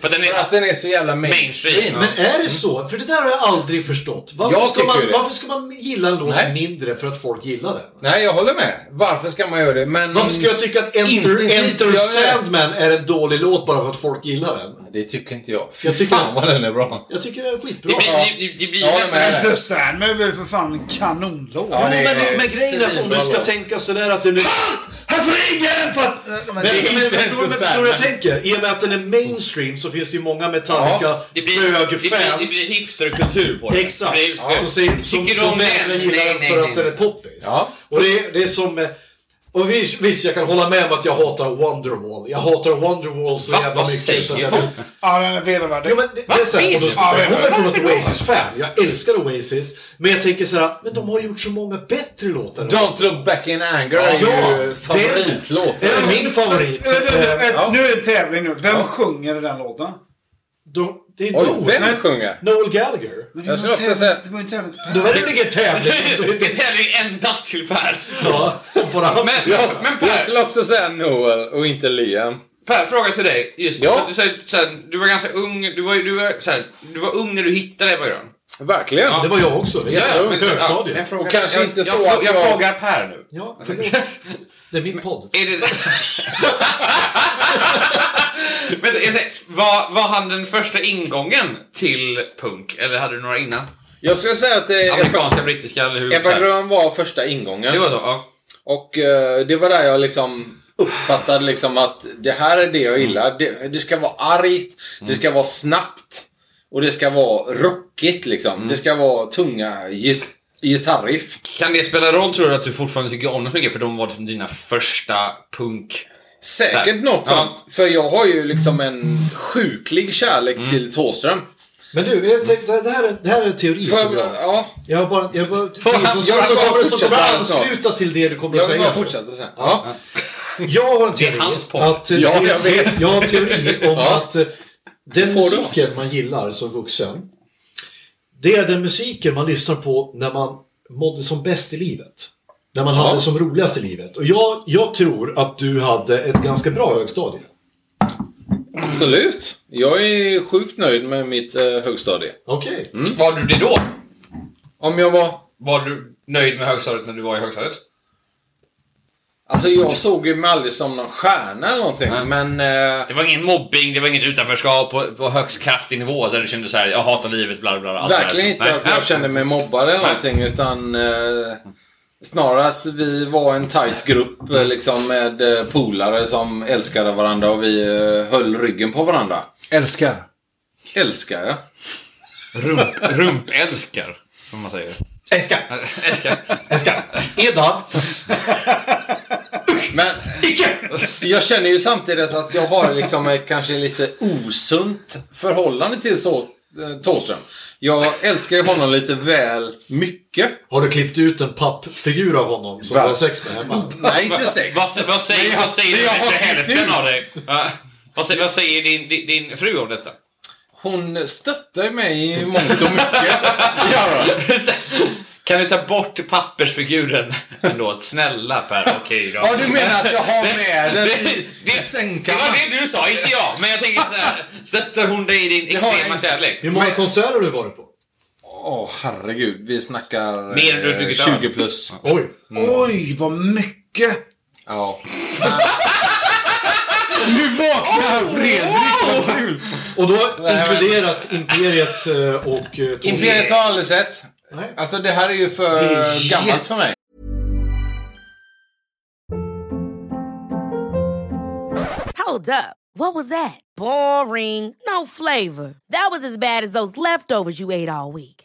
För den är...
För att den är så jävla mainstream.
Mainstream,
Men är det så? För det där har jag aldrig förstått. Varför,
Mm. Jag
ska man,
tycker det.
varför ska man gilla en låt
Nej.
mindre för att folk gillar den?
Nej, jag håller med. Varför ska man göra det? Men...
Varför ska jag tycka att Enter,
Mm. Instinktivt gör
Enter
jag det.
Sandman är en dålig låt bara för att folk gillar den?
Det tycker inte jag. Fy
Jag tycker-
fan vad den är bra.
Jag tycker den är skitbra.
Det blir, det, det blir
Ja,
nästan...
men-
Enter Sandman är väl för fan en kanonlåt?
Ja, det är-
men, men grejen är att om du ska
Svinbra
tänka sådär att den är...
(laughs)
Här får ingen pass... Äh, Men,
Men, men, men,
inte
förstår du-
Enter
men, förstår du vad jag
Sandman.
tänker? I och med att den är mainstream så finns det ju många Metallica
Ja,
Det blir, det blir, det blir,
bögfans.
hipsterkultur på det.
Exakt.
Det blir-
Som, säger, som,
Tycker
som
om den?
vägrar gilla
Nej,
den
nej,
för
nej,
att den är
nej.
poppis.
Ja.
Och det är, det är som... eh, Och visst, visst, jag kan hålla med om att jag hatar Wonderwall. Jag hatar Wonderwall så
Va?
jävla
Vad
mycket. så att
säger
jag-
du?
ja, den är vedervärdig.
Jo men det, det är såhär,
Vet
och då
du?
skulle
Ja,
jag kommer
men-
från ett Oasis-fan. Jag älskar Oasis. Men jag tänker såhär, men de har gjort så många bättre låtar.
Don't look back in anger är
Ja,
ju favoritlåt.
Det är min favorit.
Vänta,
Eh,
vänta, vänta, Nu är det en tävling nu. Vem sjunger i den låten?
de- Det är
Oj,
Noel.
vem sjunger?
Noel Gallagher.
Jag skulle också säga...
Det var ju en tävling.
Det var väl ingen (laughs) tävling?
Det är tävling endast till Per.
Ja, bara han.
Men, men
Jag
Per,
skulle också säga Noel och inte Liam.
per, fråga till dig. Just
Ja.
för att du, säger så här, du var ganska ung, du var, ju- du, var, så här, du var ung när du hittade dig på grön.
Verkligen.
Det var jag också. Det är
men- ja,
högstadiet.
jag frågar-
Och kanske
jag,
inte
jag,
så
jag,
att
jag,
jag-
frågar Per nu.
Ja, förlåt. Det är min podd.
(laughs) Är det så... (laughs) Vänta, jag säger, var, var han den första ingången till punk? Eller hade du några innan?
Jag skulle säga att eh, Ebba,
Amerikanska, brittiska eller hur? så
Ebba
här.
Grön var första
Det
ingången.
var då, ja.
Och eh, det var där jag liksom uppfattade liksom att det här är det jag gillar. Det, det ska vara argt, det ska vara snabbt och det ska vara rockigt liksom. Det ska vara tunga git- gitarriff.
Kan det spela roll tror du att du fortfarande tycker om dem så mycket? För de var liksom dina första punk... Så här.
Säkert något
Ja.
sånt. För jag har ju liksom en sjuklig kärlek till Thåström.
Men du, jag tänkte, det, här är, det här är en teori
För-
som jag...
Ja,
Jag har bara... Jag bara
han-
som,
jag
som
bara
kommer, som kommer
fortsätta snart.
ansluta till det du kommer att
jag vill
säga.
bara fortsätta sen. Ja.
Jag har en
Det är
teori.
hans podd.
Att, eh,
Ja,
teori-
jag vet.
jag har en teori om
Ja.
att eh, den
Får du?
musiken man gillar som vuxen, det är den musiken man lyssnar på när man mådde som bäst i livet. När man hade som roligast i livet. Och jag, jag tror att du hade ett ganska bra högstadie.
Absolut.
Mm.
Jag är sjukt nöjd med mitt eh, högstadie.
Okej.
Var du det då?
Om jag var...
Var du nöjd med högstadiet när du var i högstadiet?
Alltså jag såg ju mig aldrig som någon stjärna eller någonting,
Nej.
men... Eh,
Det var ingen mobbing, det var inget utanförskap på, på högst kraftig nivå där du kände så här, jag hatar livet, bla bla, bla. allt det här.
verkligen inte
Nej.
att Alltså, jag kände mig mobbad eller någonting, utan... Eh, snarare att vi var en tight grupp eh, liksom med eh, polare som älskade varandra och vi eh, höll ryggen på varandra.
Älskar.
Älskar jag.
Rump, rumpälskar, som man säger.
Älskar!
Älskar.
Älskar! Eda!
Men eh, jag känner ju samtidigt att jag har liksom ett kanske lite osunt förhållande till så eh, Thåström. Jag älskar ju honom lite väl mycket.
Har du klippt ut en pappfigur av honom som
Va?
du har sex med hemma?
Nej, inte sex.
Vad, vad säger, vad säger
vi har
bättre
klippt
hälften
ut.
av dig? Ja. Vad säger, vad säger din, din, din fru om detta?
Hon stöttar ju mig i mångt och (laughs) mycket. Ja, då.
kan du ta bort pappersfiguren ändå? Snälla Per, okej då.
ja, du menar att jag har med den
Det,
i i
det
sängkammaren?
var det du sa, inte jag. Men jag tänker så här, stöttar hon dig i din
har jag
extrema
inte.
kärlek?
Hur många
Men-
konserter har du varit på?
Åh, herregud. Vi snackar eh,
Mer än du har druckit öl.
20 plus.
Oj!
Oj, vad mycket!
Ja.
Nu vaknar Fredrik! Vad kul!
Och då
men-
inkluderat Imperiet eh, och... eh, Tony-
Imperiet har jag aldrig sett.
Nej.
Alltså, det här är ju för
Det är
gammalt för mig.
Hold up. What was that? Boring. No flavor. That was as bad as those leftovers you ate all week.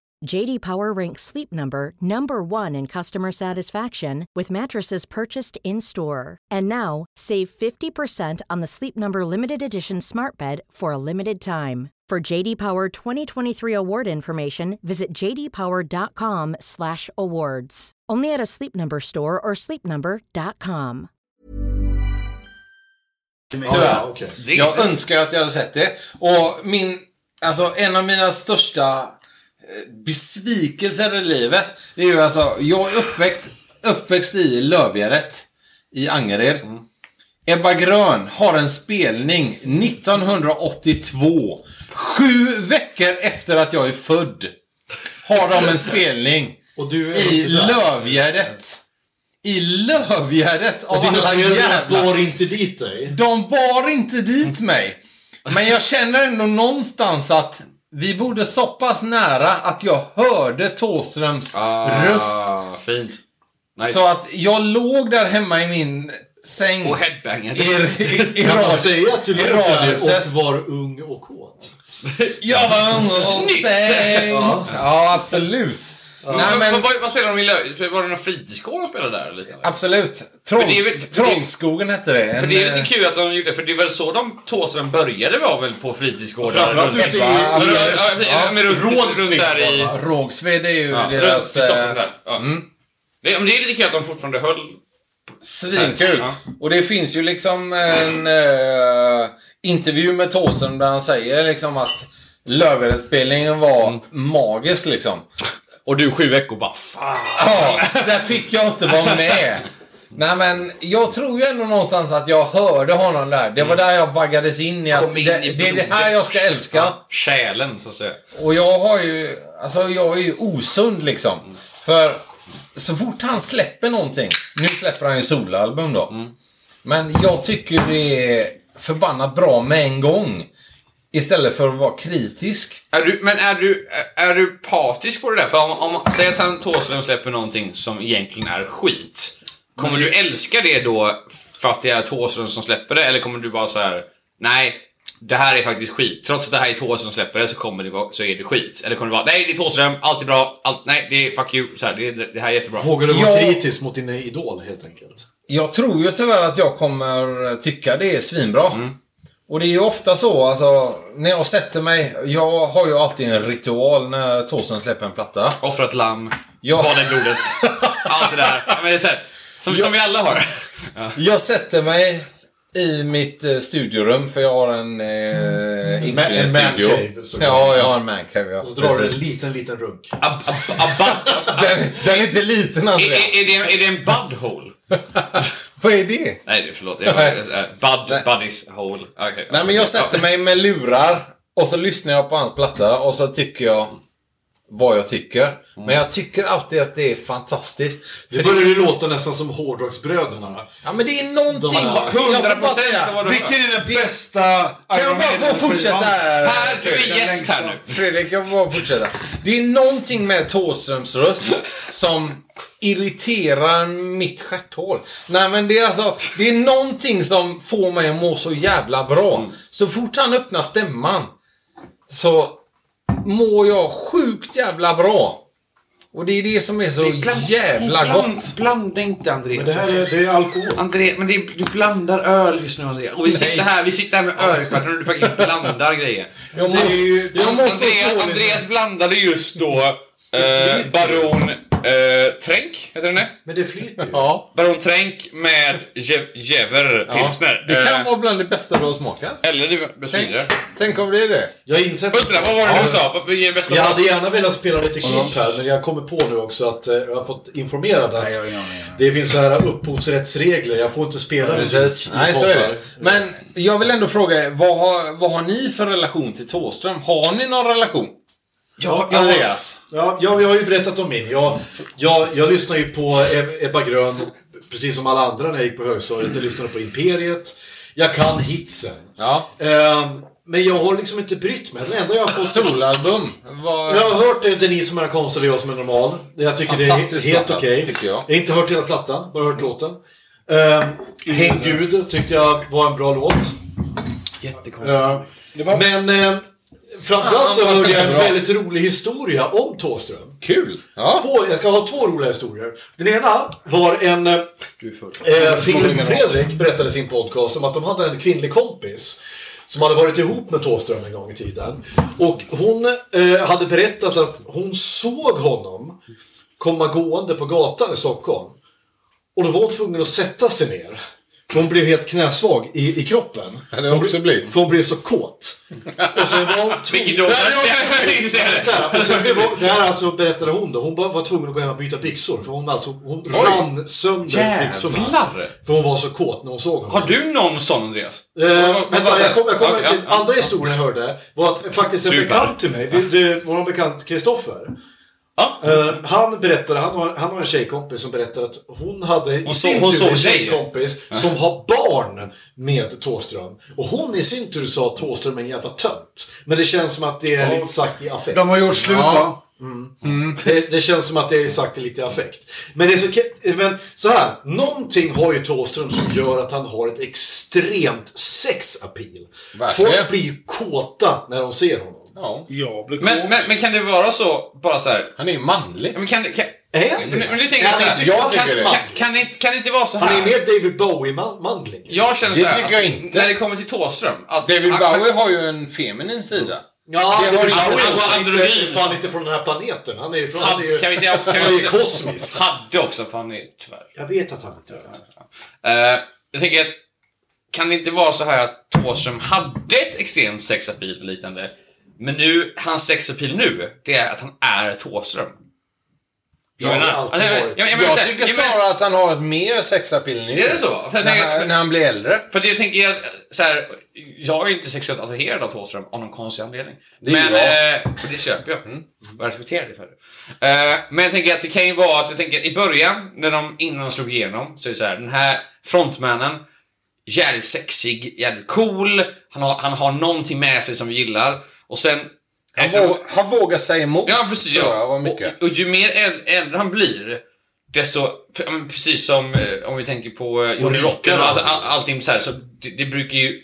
JD Power ranks Sleep Number number 1 in customer satisfaction with mattresses purchased in-store. And now, save 50% on the Sleep Number limited edition Smart Bed for a limited time. For JD Power 2023 award information, visit jdpower.com/awards. Only at a Sleep Number store or sleepnumber.com.
Tyvärr.
okej.
Det-
Jag önskar att jag hade sett det. Och min, alltså en av mina största eh, besvikelser i livet, det är ju alltså, jag är uppväxt, uppväxt i Lövgäret i Angered.
Mm.
Ebba Grön har en spelning 1982. Sju veckor efter att jag är född har de en spelning
Och du är
i
inte där.
Lövgärdet. I Lövgärdet av
Dina
alla
föräldrar
jävla
bar inte dit dig.
de bar inte dit mig. Men jag känner ändå någonstans att vi borde så pass nära att jag hörde Thåströms röst.
Ah, fint.
Så att jag låg där hemma i min säng.
Och headbanger.
i, i, i,
Kan man
radio-
säga att du
i
låg där
radiohuset.
och var ung och kåt?
Jag var ung och
Snyggt!
sänkt. Ja, absolut. Nej,
men... vad,
men
vad, vad spelade de i Lö... Var det någon fritidsgård de spelade där? Eller? liknande?
absolut.
det är
Trolls,
väl-
Trollskogen hette det.
För
En,
det är
eh,
lite kul att de gjorde för det är väl så de Thåström började var väl på fritidsgårdar?
Framförallt
runt-
ute i-
Ja, men- ja,
Ja,
men runt- runt där i...
eh, Rågsved är ju
Ja, runt i
deras...
Stockholm
eh,
där. Ja. Det, men det är lite kul att de fortfarande höll...
Svinkul!
Ja.
Och det finns ju liksom en eh, intervju med Thåström där han säger liksom att Löverättsspelningen var
Mm.
magisk liksom.
Och du sju veckor bara fan.
Ja, där fick jag inte vara med. Nej men jag tror ju ändå någonstans att jag hörde honom där. Det var där jag vaggades in i att
Mm. Kom in
det,
i
det är det här
blodet.
jag ska älska.
Själen så att säga.
Och jag har ju, alltså jag är ju osund liksom. För så fort han släpper någonting, nu släpper han ju soloalbum då. Men jag tycker det är förbannat bra med en gång. Istället för att vara kritisk.
Är du, men är du, är du partisk på det där? För om, om säg att han Thåström släpper någonting som egentligen är skit. Kommer du älska det då för att det är Thåström som släpper det? Eller kommer du bara så här: nej, det här är faktiskt skit. Trots att det här är Thåström som släpper det så, kommer det vara, så är det skit. Eller kommer du vara, nej det är Thåström, allt är bra, allt, nej det är fuck you, så här, det, det här är jättebra.
Vågar du vara
Ja.
kritisk mot din idol helt enkelt?
Jag tror ju tyvärr att jag kommer tycka det är svinbra. Och det är ju ofta så, alltså, när jag sätter mig. Jag har ju alltid en ritual när Thåström släpper en platta.
Offra ett lamm,
Ja.
bada i
(laughs)
blodet. Allt det där. Ja, Men det är så här, som, som vi alla har. Ja.
Jag sätter mig i mitt eh, studiorum, för jag har en eh, inspelningsstudio.
Mm. en mancave, såklart.
Ja, jag har en mancave, ja.
Och så drar du en
Precis.
liten, liten runk.
A, a, a bud,
Den, den är inte liten,
är,
Eh,
Andreas.
är, är, det, är det en budhole?
Vad är det?
Nej, det- förlåt. Jag, eh, bud,
Nej.
buddies hole. Okej.
Nej, men jag sätter mig med lurar och så lyssnar jag på hans platta och så tycker jag vad jag tycker. Men jag tycker alltid att det är fantastiskt.
Mm. Det
För
börjar
det,
ju låta nästan som hårdrocksbröderna.
ja, men det är någonting.
De har
Jag får bara
100%
säga-
av vad du
Vilken är den bästa
Kan jag bara få fortsätta här?
Här, du är gäst här nu.
Fredrik, jag får bara fortsätta. Det är någonting med Thåströms röst som irriterar mitt stjärthål. Nej men det är alltså, det är någonting som får mig att må så jävla bra. Så fort han öppnar stämman så mår jag sjukt jävla bra. Och det är det som är så jävla gott.
Blanda inte Andreas.
Det här är, det är alkohol.
André, men det, är- du blandar öl just nu André. Och vi sitter här, vi sitter här med ölkvarten och du fucking blandar grejer.
Jag
Det är
måste-
ju-
jag måste
Andreas,
få lite-
Andreas blandade just då eh, Baron eh, Tränk, heter den det?
Men det flyter ju.
Ja.
Baron Tränk med Je- Jever
ja.
pilsner.
Det kan
Eh,
vara bland det bästa du har smakat.
Eller det
Tänk,
betyder det.
tänk om det är det.
Jag inser
Ultra, vad var det du sa? Vad- Vilken är bästa
Jag
mat?
hade gärna velat spela lite klipp här, men jag kommer på nu också att eh, jag har fått informerad att det finns så här upphovsrättsregler. Jag får inte spela
Precis.
musik i
Nej, så är det.
poddar.
Men jag vill ändå fråga er, vad har, vad har ni för relation till Thåström? Har ni någon relation?
Ja, ja.
Andreas?
Ja, jag, jag har ju berättat om min. Jag, jag, jag lyssnar ju på Eb- Ebba Grön, precis som alla andra när jag gick på högstadiet. Jag lyssnade på Imperiet. Jag kan hitsen.
Ja.
Ehm, men jag har liksom inte brytt mig. Det enda jag har fått...
Solalbum? Vad...
Jag har hört det, det är ni som är konstnär och jag som är normal. Jag tycker det är
Fantastisk
helt
platta,
okej.
tycker jag. Mm.
har inte hört hela plattan, bara hört låten. Ehm, Häng Gud tyckte jag var en bra låt. Jättekonstigt. Men eh, framförallt så
Ja,
hörde jag en
bra.
väldigt rolig historia om Thåström.
Kul! Ja.
Två, jag ska ha två roliga historier. Den ena var en... eh, Eh, Filip Fredrik berättade i sin podcast om att de hade en kvinnlig kompis som hade varit ihop med Thåström en gång i tiden. Och hon eh, hade berättat att hon såg honom komma gående på gatan i Stockholm. Och då var hon tvungen att sätta sig ner. För hon blev helt knäsvag i, i kroppen.
det har också blivit.
För hon blev så kåt. Och sen var hon tvungen...
Vilken då? (laughs)
Så här, och sen blev hon- det här alltså berättade hon då. Hon bara var tvungen att gå hem och byta byxor. För hon, alltså, hon rann sönder byxorna.
Jävlar!
För hon var så kåt när hon såg honom.
Har du någon sån Andreas?
Eh, vänta, jag kommer jag kommer
Ja, ja.
till andra historien jag hörde. Var att faktiskt en
Du bara.
bekant till mig, vill du- vår bekant Kristoffer.
Ja.
Eh, han berättade, han har, han har en tjejkompis som berättade att hon hade i
Hon så-
sin
hon
tur
såg
en
tjejer.
tjejkompis som har barn med Thåström. Och hon i sin tur sa att Thåström är en jävla tönt. Men det känns som att det är lite sagt i affekt.
De har gjort slut va?
Det, det känns som att det är sagt i lite affekt. Men det är så ke- Men så här. Någonting har ju Thåström som gör att han har ett extremt sexappeal.
Verkligen.
Folk blir ju kåta när de ser honom.
Ja.
Jag blir
Men, men, men kan det vara så, bara så här.
Han är ju manlig.
Ja, Men kan, kan,
Är han
men,
det?
men nu tänker jag
Nej,
så här,
jag
kan,
tycker det.
kan, kan, det inte, kan det inte vara så här?
Han är mer David Bowie-mandling.
Jag känner
Det
så här,
tycker jag
att
inte.
När det kommer till Thåström. Att,
David
att-
Bowie har ju en feminin sida.
Ja,
Det har
David
inte
Bowie
alls
var
android.
inte, fan inte från den här planeten. Han är ju från... Han är ju,
Hade, kan vi säga också, kan
han är
vi
ju
också,
kosmisk.
Hade också, för han är tyvärr.
Jag vet att han inte är död.
Eh, jag tänker att, kan det inte vara så här att Thåström hade ett extremt sexappeal och liknande, men nu, hans sexappeal nu, det är att han är Thåström.
Jag har alltid varit-
Jag tycker snarare att han har ett mer sexappeal nu.
Är det så? För jag
När,
tänker-
han- när han blir äldre.
För det jag tänker är att, så här, jag är inte sexuellt attraherad av Thåström av någon konstig anledning.
är
men
jag. Mm.
eh, det köper jag. Jag respekterar det för det. Eh, men jag tänker att det kan ju vara att jag tänker i början, när de, innan de slog igenom, så är det så här, den här frontmannen, jävligt sexig, jävligt cool, han har, han har någonting med sig som vi gillar. Och sen...
Han,
efter-
våg, han vågar säga emot.
Ja, precis.
tror
Ja.
jag, var
Och,
mycket.
och ju mer äl- äldre han blir, desto... p- ja, men Precis som eh, om vi tänker på eh, Johnny
rikare
Rotten och alltså, all,
han
allting så här, så det, det brukar ju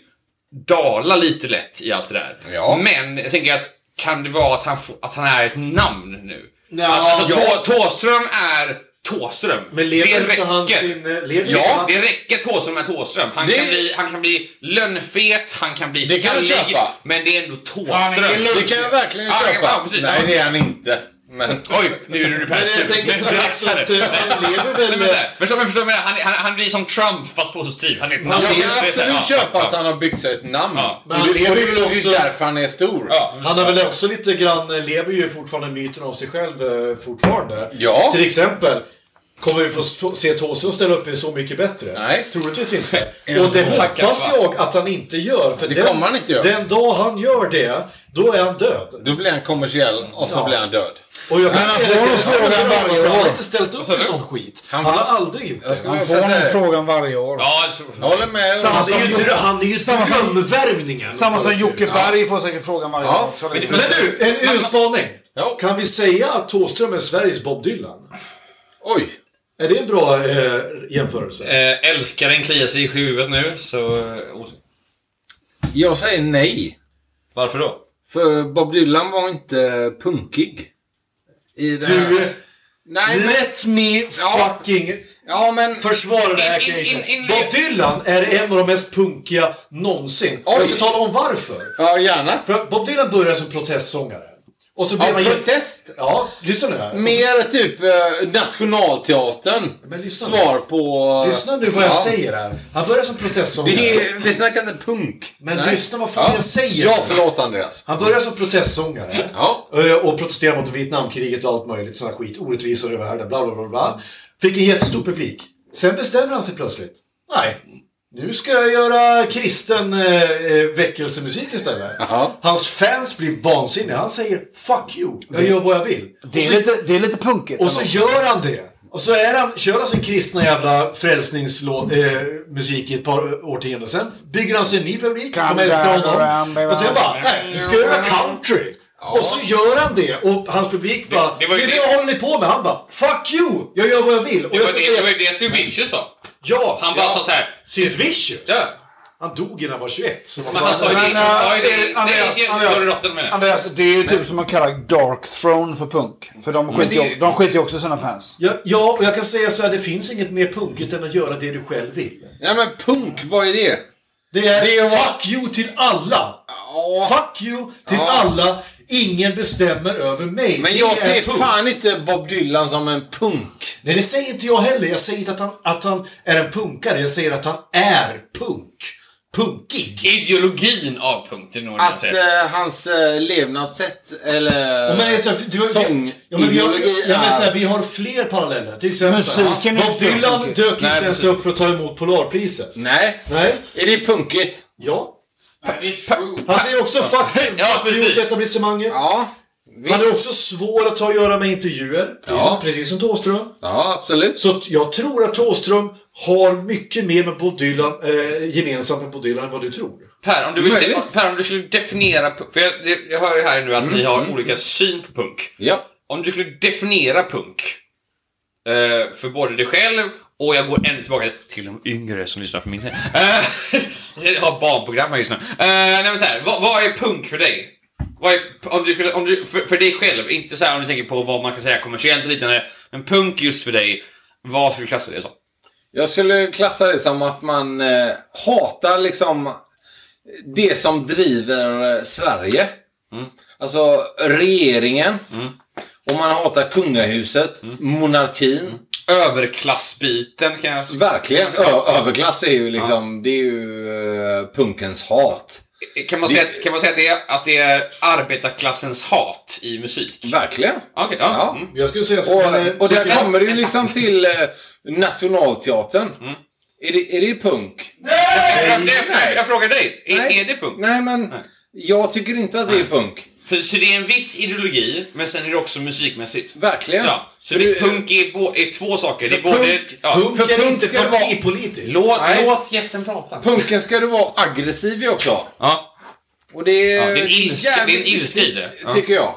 dala lite lätt i allt det där.
Ja.
Men jag tänker att kan det vara att han, få- att han är ett namn nu?
Ja,
att, alltså,
ja.
Thå- Thåström är Thåström.
Men lever
det
inte
räcker.
han sin, eh, lever inte
ja,
han-
det räcker Thåström är Thåström. Han,
Det-
kan bli, han kan bli lönnfet, han kan bli
Det kan jag köpa.
Men det är ändå Thåström.
Det kan jag verkligen
Ja,
köpa.
ja, precis.
Nej,
Ja.
det är han inte. Men...
Oj, nu är du
Men
persisk.
jag tänker så här, så att, eh, han
Förstår
lever väl-
du vad jag förstår? vad jag menar? Han, han, han blir som Trump fast positiv. Han är ett namn.
Jag
Det
kan
är- det är så här,
absolut
ja,
köpa
ja,
att han har byggt sig ett namn.
Ja.
Och det, och det, och det är ju därför han är stor.
ja.
Han har väl också lite grann, eh, lever ju fortfarande myten av sig själv eh, fortfarande.
Ja.
Till exempel, kommer vi få st- se Thåström ställa upp i Så Mycket Bättre?
Nej.
Troligtvis inte. Och det hoppas jag att han inte gör. För
Det
den,
kommer han inte göra.
Den dag han gör det, då är han död.
Då blir han kommersiell och så
Ja.
blir han död.
Och jag
Men han får nog frågan varje
Han har
år.
inte ställt upp i sån skit. Han,
får-
har aldrig gjort det.
Jag
Han
vill
får
säga
den
det.
frågan varje år.
Ja, det är så-
Jag håller med.
Samma
Han är ju, dr- han är ju drömvärvningen.
Samma som Jocke Berg får säkert frågan varje
Ja.
år. också.
Men-
Men du, en urspaning.
Ja.
Kan vi säga att Thåström är Sveriges Bob Dylan?
Oj.
Är det en bra eh, jämförelse?
Eh, älskaren kliar sig i huvudet nu, så... eh, os-
Jag säger nej.
Varför då?
För Bob Dylan var inte punkig. I den
Du,
Nej, men...
let me
Eh, Ja.
fucking
Ja, men...
försvara det här
In- in-
caset.
in- in-
Bob Dylan är en av de mest punkiga någonsin.
Oj.
Jag ska tala om varför.
Ja, gärna.
För att Bob Dylan började som protestsångare. Och så blev
Ja,
han...
protest.
Ja, lyssna nu här.
Mer typ eh, Nationalteatern.
Men lyssna nu.
Svar på...
Lyssna nu vad jag
Ja.
säger här. Han började som protestsångare.
Det är, vi snackar inte punk.
Men lyssna vad fan jag säger.
Ja, förlåt Andreas.
Han började som protestsångare.
Ja.
Eh, Och protesterade mot Vietnamkriget och allt möjligt sån här skit. Orättvisor i världen, bla bla bla. bla. Fick en jättestor publik. Sen bestämmer han sig plötsligt. Nej, nu ska jag göra kristen eh, eh, väckelsemusik istället.
Jaha.
Hans fans blir vansinniga. Han säger “Fuck you, jag gör vad jag vill”.
Det är, lite, det är lite punkigt.
Och så
ändå.
gör han det. Och så är han, kör han sin kristna jävla frälsningsmusik i ett par årtionden. Sen bygger han sig en ny publik, de
Come
älskar
down
honom.
around the
Och sen bara, nej, nu ska jag göra country. Och så gör han det och hans publik bara,
det
det,
var ju det-
vad håller ni på med? Han bara, fuck you! Jag gör vad jag vill. Och
Det
jag
var
ska
det, det, var
säga,
ju det Sid Vicious sa.
ja,
Han bara
Ja.
sa såhär...
Sid Vicious.
Ja.
Han dog innan han var 21. Så vad
Men
fan-
han sa ju det.
Men,
Han sa ju
eh,
det.
Andreas,
Det är
Andreas,
ju rotten med det.
Andreas, det är ju typ som man kallar Dark Throne för punk. För de skiter ju de skiter ju också i sina fans.
ja, ja, och jag kan säga så här, det finns inget mer punkigt än att göra det du själv vill.
Ja, men punk, vad är det?
Det är,
Det är vad-
fuck you till alla! Fuck you till
Ja.
alla! Ingen bestämmer över mig.
Men
Det är
jag ser
punk.
fan inte Bob Dylan som en punk.
Nej, det säger inte jag heller. Jag säger inte att han, att han är en punkare. Jag säger att han är punk. Punkig.
Ideologin av punk, det är nog det man
Att
säger.
eh, hans eh, levnadssätt eller
Men det är så, här, du,
sångideologi
ja, men vi, har, jag menar så här,
är...
vi har fler paralleller. Till exempel,
Musiken är
Bob
inte
Dylan
punkig.
dök inte
Nej,
ens upp för att ta emot Polarpriset.
Nej.
Nej.
Är det punkigt?
Ja. Han säger också fuck you
Ja,
fuck you till
precis.
etablissemanget.
Ja. Visst.
Han är också svår att ta och göra med intervjuer.
Ja.
Precis som Thåström.
Ja, absolut.
Så att jag tror att Thåström har mycket mer med Bob Dylan, eh, gemensamt med Bob Dylan än vad du tror.
Per, om du, vill de,
Möjligt.
per, om du skulle definiera... punk- För jag, det- jag hör ju här nu att ni
Mm.
har olika syn på punk.
Ja.
Om du skulle definiera punk eh, för både dig själv och jag går ännu tillbaka till de yngre som lyssnar på min tid. Eh, (laughs) jag har barnprogram här just nu. Eh, nej men så här, vad, vad är punk för dig? Vad är, om du skulle, om du, för, för dig själv, inte så här om du tänker på vad man kan säga kommersiellt och liknande. Men punk just för dig, vad skulle du klassa det som?
Jag skulle klassa det som att man eh, hatar liksom det som driver eh, Sverige.
Mm.
Alltså regeringen. Och man hatar kungahuset,
Mm.
monarkin.
Överklassbiten kan jag s-
Verkligen. Ö- överklass är ju liksom, det är ju eh, punkens hat.
Kan man säga, att- kan man säga att, det är, att det är arbetarklassens hat i musik?
Verkligen.
Okej, ja.
Ja.
Mm.
Jag skulle säga så.
Och, och där kommer du liksom till eh, Nationalteatern.
Mm.
Är, det, är det punk?
Jag, jag, jag, jag frågar dig, är, är det punk?
Nej, men jag tycker inte att det är punk.
För, så det är en viss ideologi, men sen är det också musikmässigt.
Verkligen.
Ja, så
För
det,
du-
punk är, bo, är två saker. Det är
För punk-
både... ja.
Punk
för
är
punk
inte
ska det
partipolitiskt.
låt,
nej.
låt gästen prata.
Punken ska du vara aggressiv i också.
Ja.
Och det är,
Ja, det är en ilska-
jävligt
det är en ilska i
viktigt,
det. Ja. Mm.
Tycker jag.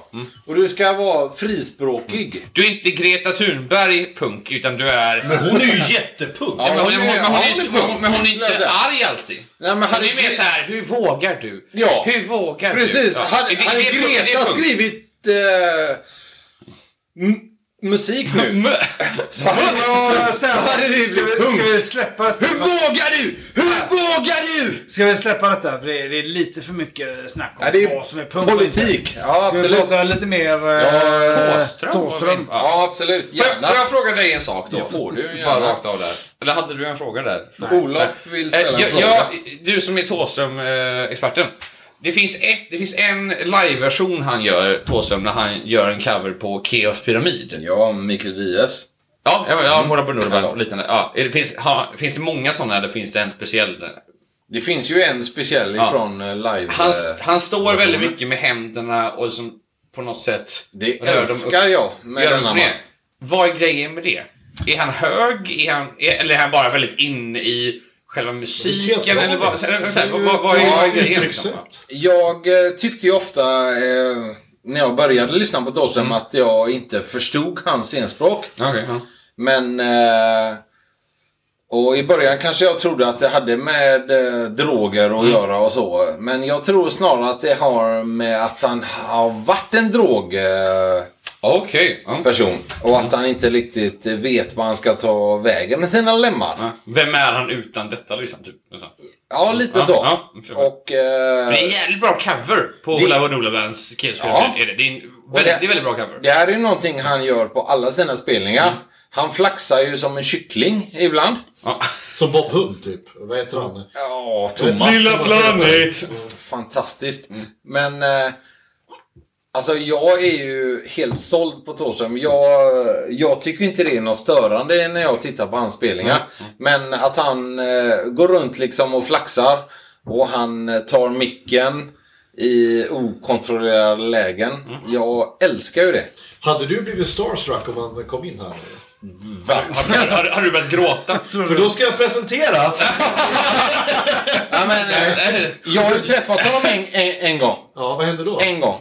Och du ska vara frispråkig.
Du är inte Greta Thunberg punk, utan du är... Men
Hon är ju jättepunk.
Ja,
men hon,
hon
men hon,
är-
är
ja,
ju
hon är
så-
punk,
men hon är
skulle jag
inte
säga.
arg alltid.
Nej, men
hon
hade
är mer
Gre-
så här, hur vågar du?
Ja.
Hur vågar du?
Precis.
Ja.
Hade,
Är det-
hade
är det punk? Är det
Greta
punk?
skrivit eh, m- musik
(laughs)
nu. så hade, så,
Och
så
sen
hade det
ska
blivit
vi, ska
punk.
vi släppa detta?
Hur vågar du? Hur vågar du?
Ska vi släppa detta? För det är, det är lite för mycket snack om
Ja, det är
vad som är punk.
politik. Ja,
Ska vi
absolut.
låta lite mer... eh,
Thåström?
Thåström.
Ja, absolut.
Får jag,
Gärna.
får jag fråga dig en sak då?
Det får du gärna.
Bara rakt av där. Eller hade du en fråga där?
Olof vill ställa en
Eh, jag-
fråga.
jag- du som är Thåström-experten. Det finns, ett, det finns en live-version han gör, Thåström, när han gör en cover på Chaos Pyramid.
Ja, Mikael Diaz.
Ja, ja, ja Mora Bunurban och liknande. Ja, är det, finns, ha, finns det många sådana eller finns det en speciell? eh,
Det finns ju en speciell ifrån eh, live...
Han,
eh,
han står väldigt mycket med händerna och liksom på något sätt...
det
rör dem upp.
älskar jag med
Gör
denna
han
man.
det? Vad är grejen med det? Är han hög? Är han, är, eller är han bara väldigt inne i själva musiken? Eller vad, så här, så här, vad, vad, vad är, vad är grejen? liksom?
Jag eh, tyckte ju ofta eh, när jag började lyssna på Thåström att jag inte förstod hans scenspråk.
Mm. Okej, ja.
Men... Eh, och i början kanske jag trodde att det hade med eh, droger
Mm.
att göra och så. Men jag tror snarare att det har med att han har varit en drog... Eh,
Okej. ja.
person och
Mm.
att han inte riktigt eh, vet vad han ska ta vägen med sina lemmar.
Ja. Vem är han utan detta liksom? Typ. Så.
Ja, lite
Ja,
så.
ja, jag tror det.
och... eh,
Det är en jävligt bra cover på
Det-
Olav Nolabands Killspel.
Ja.
Är det. det är en väldigt,
det-
väldigt bra cover.
Det här är ju någonting han gör på alla sina spelningar. Han flaxar ju som en kyckling ibland.
Ja.
Som Bob Hund, typ. Vad heter han?
Ja, Thomas.
(laughs) planet!
Fantastiskt. Men... Eh, alltså, jag är ju helt såld på Thåström. Jag, jag tycker inte det är något störande när jag tittar på hans spelningar. Men att han eh, går runt liksom och flaxar och han eh, tar micken i okontrollerade lägen. Jag älskar ju det.
Hade du blivit starstruck om han kom in här?
Har, har, har, har du börjat gråta?
För då ska jag presentera
Ja, men, eh, jag har ju träffat honom en, en, en gång.
Ja, vad händer då?
En gång.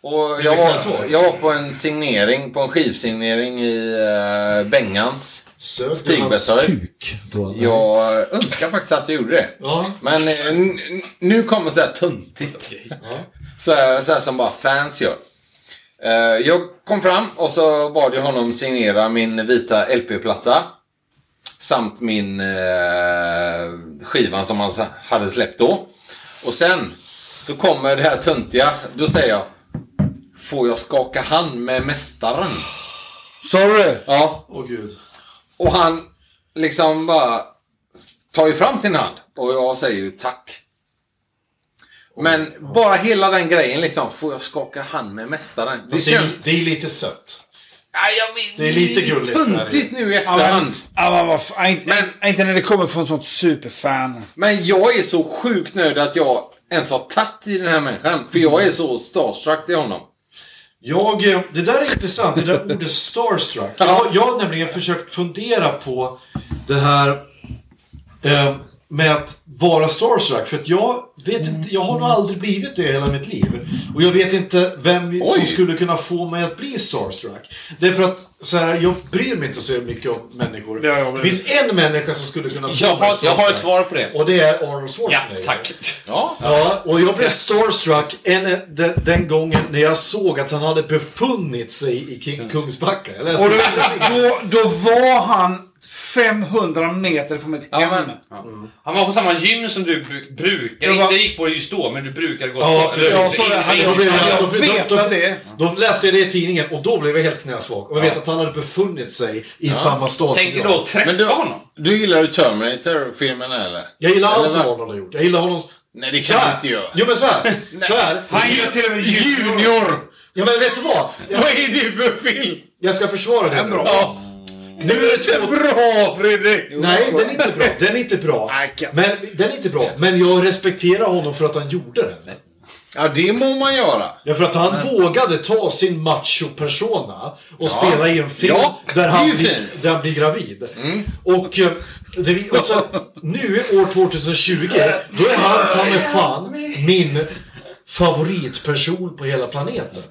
Och jag
liksom
var,
så.
jag var på en signering, på en skivsignering i eh, Bengans.
Sög du hans
Stigbässhöjd.
kuk? då?
Jag önskar faktiskt att jag gjorde det.
Ja.
Men eh, n- n- nu kommer så här tuntigt. Så här, så här som bara fans gör. Eh, jag kom fram och så bad jag honom signera min vita LP-platta. Samt min eh, skivan som han s- hade släppt då. Och sen så kommer det här töntiga. Då säger jag Får jag skaka hand med mästaren?
Sorry!
Ja.
Åh gud.
Och han liksom bara tar ju fram sin hand och jag säger ju tack. Men bara hela den grejen liksom, får jag skaka hand med mästaren? Det
Det,
känns...
är, det är lite sött.
Ja, jag vet,
det är lite gulligt där.
Tuntigt nu i
Ja, men,
efterhand.
ja, men, vad fan, inte,
Men-
inte när det kommer från sånt superfan.
Men jag är så sjukt nöjd att jag ens har tagit i den här människan. För jag är så starstruck till honom.
Jag, eh, det där är intressant, det där ordet starstruck. Jag, har- jag har nämligen försökt fundera på det här eh, med att vara starstruck. För att jag vet
Mm.
inte, jag har nog aldrig blivit det i hela mitt liv. Och jag vet inte vem som skulle kunna få mig att bli starstruck. Därför att så här, jag bryr mig inte så mycket om människor.
Ja, jag
det
vet.
finns en människa som skulle kunna få
Jag
mig
har, jag har ett svar på det.
Och det är Arnold
Ja,
Schwarzenegger.
tack.
Ja, och jag blev starstruck en, den, den gången när jag såg att han hade befunnit sig i King, Kungsbacka. Jag läste
Och då,
det i tidningen.
då, då var han 500 meter från mitt hem.
men-
Han var på samma gym som du bru- brukar.
Jag var-
Inte gick på just då, men du brukar gå
Ja,
på.
precis.
eller-
Jag sa det,
inte-
hade
inte-
jag
blev-
inte-
jag
då- då-
vetat
då-
det.
Då läste jag det i tidningen och då blev jag helt knäsvag. Och jag vet att han hade befunnit sig i samma stad
Tänk dig
som jag.
då att träffa
Men du,
honom.
du gillar ju Terminator-filmen eller?
Jag gillar alltså- allt som
Eller vad?
Arnold har gjort. Jag gillar honom...
Nej, det kan
Så
du
här.
inte göra.
Jo men såhär. Såhär.
Han gillar till och med jul.
Junior!
Ja men vet du vad? Jag,
Vad är det för film?
jag ska försvara det nu.
Ja.
Nu är det två
Bra Fredrik!
Nej, den är inte bra. Den är
(laughs)
inte bra.
Nej, kass.
Men, den är inte bra. Men jag respekterar honom för att han gjorde den.
Ja, det må man göra.
Ja, för att han vågade ta sin macho-persona och spela i en film
Ja, det
där,
är
han
ju
blir,
fint.
där han blir gravid.
Mm.
Och, eh, det, vi- och sen, nu år 2020, då är han ta mig fan min favoritperson på hela planeten.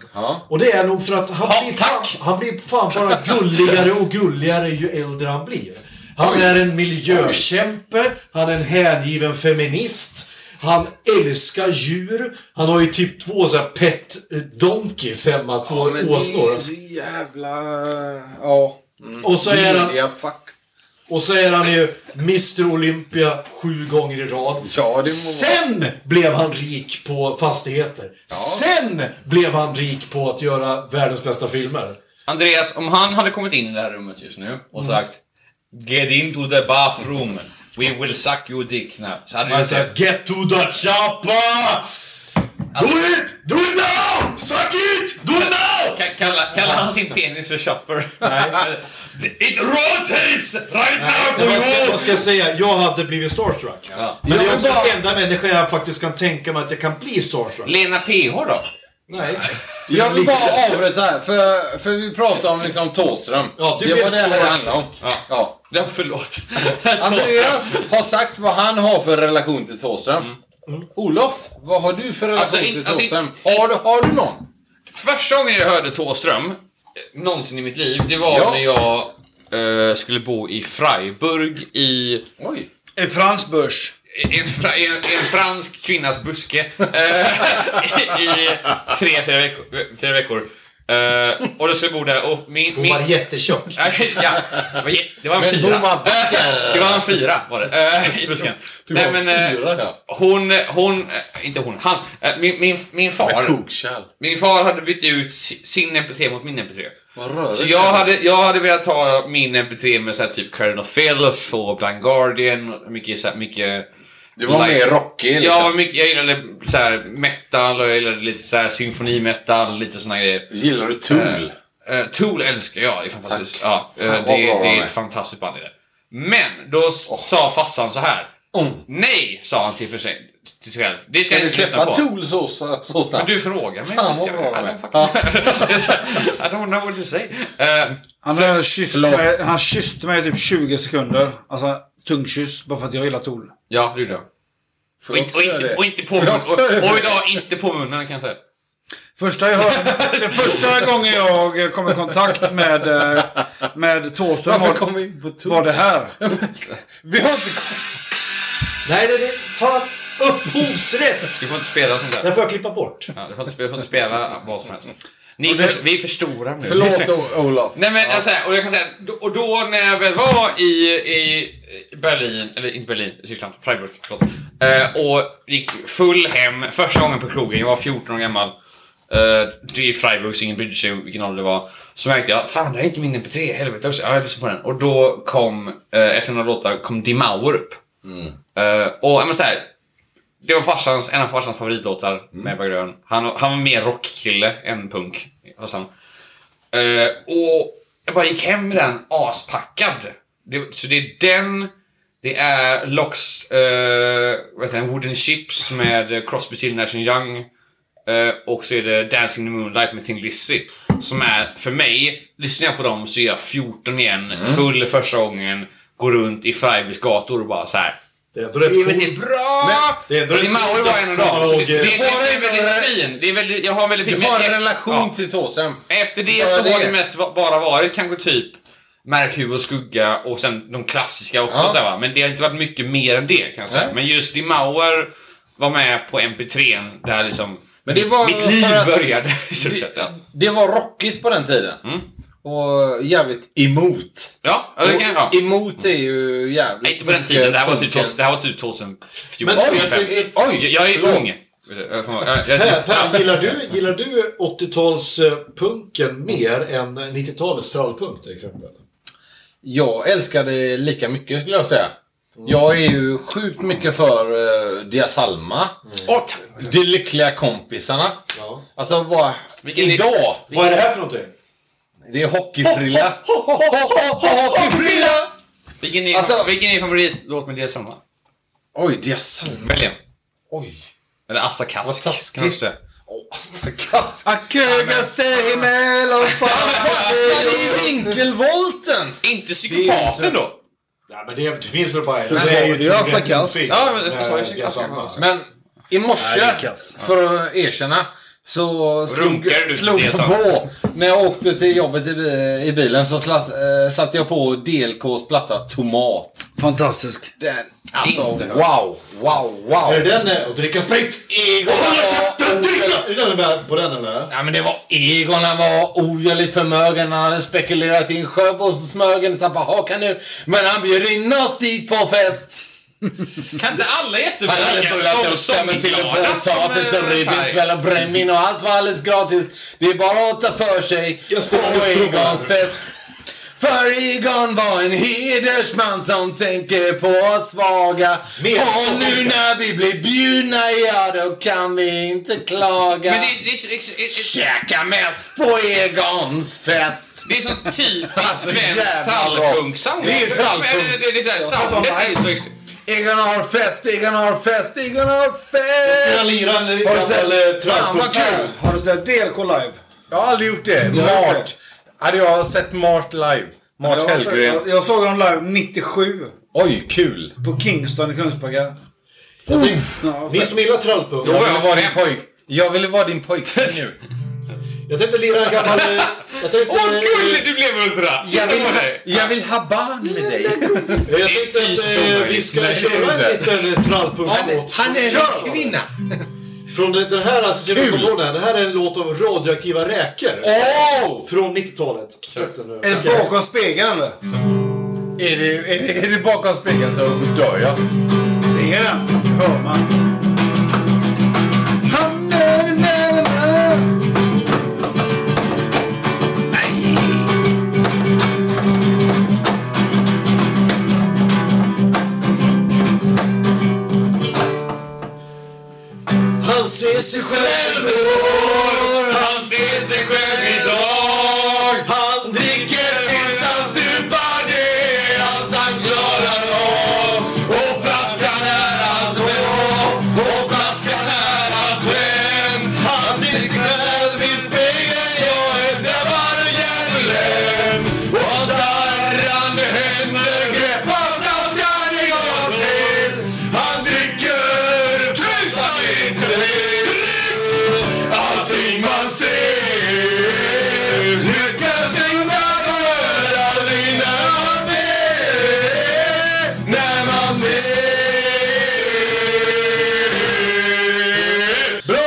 Och det är nog för att han, blir fan, han blir fan bara gulligare och gulligare ju äldre han blir. Han är en miljökämpe, han är en hängiven feminist.
Han älskar djur. Han har ju typ två så här pet eh, donkeys hemma, två
Men det
åsnor.
är så jävla... Ja.
Mm.
Och så är han...
Media fuck.
Och så är han ju Mr Olympia sju gånger i rad.
Ja, det må...
Sen blev han rik på fastigheter. Sen blev han rik på att göra världens bästa filmer.
Andreas, om han hade kommit in i det här rummet just nu och sagt Get into the bathroom. We will suck your dick now. Så hade du
Han
sagt
säger Get to the choppa! Do it! Do it now! Suck it! Do it now!
Ka- Kalla, kallar han sin penis för chopper? Nej. (laughs) It rotates right now for
Vad ska,
you!
vad ska jag säga? Jag hade blivit starstruck. Men det
Jag
är
vill
också
bara-
den enda människan jag faktiskt kan tänka mig att jag kan bli starstruck.
Lena PH då?
Nej.
Jag vill bara avbryta här, för, för vi pratade om liksom Thåström.
Ja, du
det
blev
var det här det
starstruck.
handlade om. Ja.
Ja, (laughs) förlåt.
Andreas har sagt vad han har för relation till Thåström. Olof, vad har du för relation
Mm. Alltså, in-
till
alltså, in-
Thåström? har, du, har du någon?
Första gången jag hörde Thåström eh, någonsin i mitt liv, det var
Ja.
när jag eh, skulle bo i Freiburg i Eh,
Oj.
I Frans Börs.
en, fra, en, en fransk kvinnas buske eh, (laughs) i, i tre, fyra veckor. Fyra veckor. Eh, och då skulle jag bo där och min...
Hon
min
var jättetjock.
(laughs) ja, det var jä- det var en
Men
fyra.
hon var buskar.
(laughs) det var en fyra var det, eh, i busken.
var
eh,
fyra, ja.
hon, hon, eh, inte hon, han, eh, min, min, min far.
Kokkärl.
Min far hade bytt ut si- sin MP3 mot min MP3.
Vad rörigt.
Så jag hade, jag hade velat ha min MP3 med så här typ Cardinal Filth och Blind Guardian och mycket så här, mycket...
Det var mer rockig liksom.
Ja, mycket, jag gillade så här metal och jag gillade lite så här symfonimetal, lite såna grejer.
Gillar du Tool?
Eh, Tool älskar jag, det är fantastiskt. Ja, eh,
Fan, vad
det,
bra de
det är
är.
ett fantastiskt band. Är det. Men då s- sa farsan så här.
Mm.
Nej, sa han till, för sig, till sig själv. Det ska
Kan
jag
vi
inte
släppa
lyssna på.
Tool så, så så
Men
snabbt?
du frågar mig.
Fan,
det ska
vad
jag-
bra de
I
är.
don't fucking- (laughs) Det är så här, I don't know what to say. Eh,
Han, så, kysste mig, han kysste mig i typ 20 sekunder. Alltså, tungkyss. Bara för att jag gillar Tool.
ja, det gjorde jag.
Får
Och
jag
inte,
också
och
göra
inte,
det?
och inte på
Får jag
munnen.
också göra
Och,
det?
och idag inte på munnen kan jag säga.
Första jag hörde, det första gången jag kom i kontakt med, eh, med Thåström
Varför
var,
kom vi in på Tool?
var det här.
Vi har inte...
Nej, det är fan upphovsrätt!
Du får inte spela sånt där.
Den får jag klippa bort.
Ja, du, får inte spela, du får inte spela vad som helst. Ni för, vi är för stora nu.
Förlåt O- Olof.
Nej men alltså, och jag kan säga, och då när jag väl var i, i Berlin, eller inte Berlin, Tyskland, Freiburg, förlåt. Eh, och gick full hem, första gången på krogen, jag var 14 år gammal. Eh, det är Freiburg, så ingen brydde sig om vilken ålder det var. Så märkte jag, fan det här är inte min MP3, helvete också. Ja, jag lyssnar på den. Och då kom, eh, efter några låtar, kom Die Mauer upp. Eh, och ja, men så här, det var farsans, en av farsans favoritlåtar med Ebba Grön. Han, han var mer rockkille än punk. Farsan. Eh, och jag bara gick hem med den aspackad. Det, så det är den, det är Locks, eh, vad heter den, Wooden Chips med eh, Crosby, Till Nash Young. eh, och så är det Dancing in the Moonlight med Thin Lizzy. Som är, för mig, lyssnar jag på dem så är jag 14 igen, full första gången, går runt i Freiburgs gator och bara så här.
Det är ändå rätt
Livet är bra!
det är ändå
Din
rätt
Mauri
coolt
var
att
en av dem. Så det, så det,
Du
det,
har
det är
en-
väldigt fin. Det är väldigt, jag har en väldigt fin.
Du har
men-
en relation
ja.
till Thåström.
Efter det
Bara
så har
det.
det mest va- bara varit kanske typ Märkhuvud och skugga och sen de klassiska också
Ja.
så här, va? Men det har inte varit mycket mer än det kan jag säga.
Nej.
Men just Di Mauer var med på MP3 där liksom
Men det var
mitt liv
för att-
började. (laughs) i stort sett, ja.
Det, det var rockigt på den tiden. Och jävligt emot.
Ja, ja, det kan jag. Ja.
Emot är ju jävligt
Nej, inte på den
mycket
tiden. Det här var typ,
punkens-
det här var typ 2014.
Men-
Oj, jag,
2015.
tycker- oj,
jag, jag är
förlåt.
ung. Jag kommer ihåg- jag- jag-
Per, per, gillar du, gillar du 80-talspunken mer än 90-talets trallpunk till exempel?
Jag älskar det lika mycket skulle jag säga. Jag är ju sjukt mycket för uh, Diasalma.
Åh, tack.
De lyckliga kompisarna.
Ja.
Alltså bara...
Vilken-
idag!
Vad är det här för någonting?
Det är hockeyfrilla. Hockeyfrilla!
Vilken är,
Alltså-
vilken är favoritlåt med det samma?
Oj, Diasalma.
Välj en.
Oj,
Eller Asta Kask.
vad taskigt.
kanske.
Åh, Asta Kask.
Akugaste himmel och
fastnade i vinkelvolten!
Inte psykopaten
Det är
då?
Ja, men det, det finns väl bara en.
det är ju det jag snackar om.
film. Eh,
Ja, men jag ska
Nej,
svara
det är
psykopaten.
samma.
Men i morse,
kass.
för att erkänna, Så slog,
Runkar du
slog
till
jag
det, sa
på. När jag åkte till jobbet i, bi- i bilen så slatt, eh, satte jag på DLKs platta Tomat.
Fantastisk.
Den, alltså wow, wow, wow.
Är det den eh, och dricka sprit?
Egon
Håll käften,
var
dricka! Är den med på den eller?
Ja men det var Egon, han var ojävligt förmögen, han hade spekulerat in Sjöbosmögen, tappade hakan nu. Men han bjöd in oss dit på fest.
Kan inte alla gäster
Han hade bullat upp det med
Alltså,
silverpotatis och ribbingsmäll och brännvin och allt var alldeles gratis. Det är bara att ta för sig
Jag spelar
på
just
Egons
trummor.
fest. För Egon var en hedersman som tänker på oss svaga.
Mer
Och nu när vi blir bjudna, ja då kan vi inte klaga.
Men det, det, är så- ex- ex- ex-
Käka mest på Egons fest.
det är sån typisk
Alltså,
svensk
jävla bra.
trallpunk-sound.
Det är trallpunk.
Men Alltså, Det, det, det är såhär, soundet är ju så... ex-
Egon har fest, Egon har fest, Egon har fest.
Jag lirar en
Har du
gammal
Fan vad kul!
trallpunk.
Har du sett DLK live?
Jag har aldrig gjort det.
har
Mart.
gjort
Hade jag sett Mart live? Mart
Jag, såg-
Hellgren.
jag, jag såg dem live 97
Oj, kul!
på Kingston i Kungsbacka.
Jag tänkte-
Ja,
Ni som gillar trallpunk.
Jag
var
ville
jag
vara din
fem.
pojk. Jag ville vara din pojkvän nu.
(laughs) Jag tänkte lira en gammal... eh, Jag tänkte...
Åh, kul! Du blev ultra!
Jag vill,
Åh,
jag vill ha barn med dig.
eh, Jag tänkte att eh, vi ska
Nej, det är
köra
inte.
en liten
Han,
trallpunklåt.
han är en kvinna.
Från den den här, alltså, jag
Kul. Eh.
kommer ihåg den här. Det här är en låt av radioaktiva räkor.
Åh!
Från 90-talet. Släpp den nu.
Är det bakom spegeln eller?
Är det, är, det, är det bakom spegeln så dör jag.
Det är den. Hör man.
Han ser sig själv i år. Han ser sig själv idag. Han dricker tills han stupar. Det är allt han klarar av. Och flaskan är hans vän. Och flaskan är hans vän. Han ser sig själv i spegeln. Jag är drabbad och hjärnlös. Och darrande händer greppar flaskan en gång till. Han dricker tills han inte vill. Allting man ser. Lyckas hindra döden innan han vet. När man vet. Bra!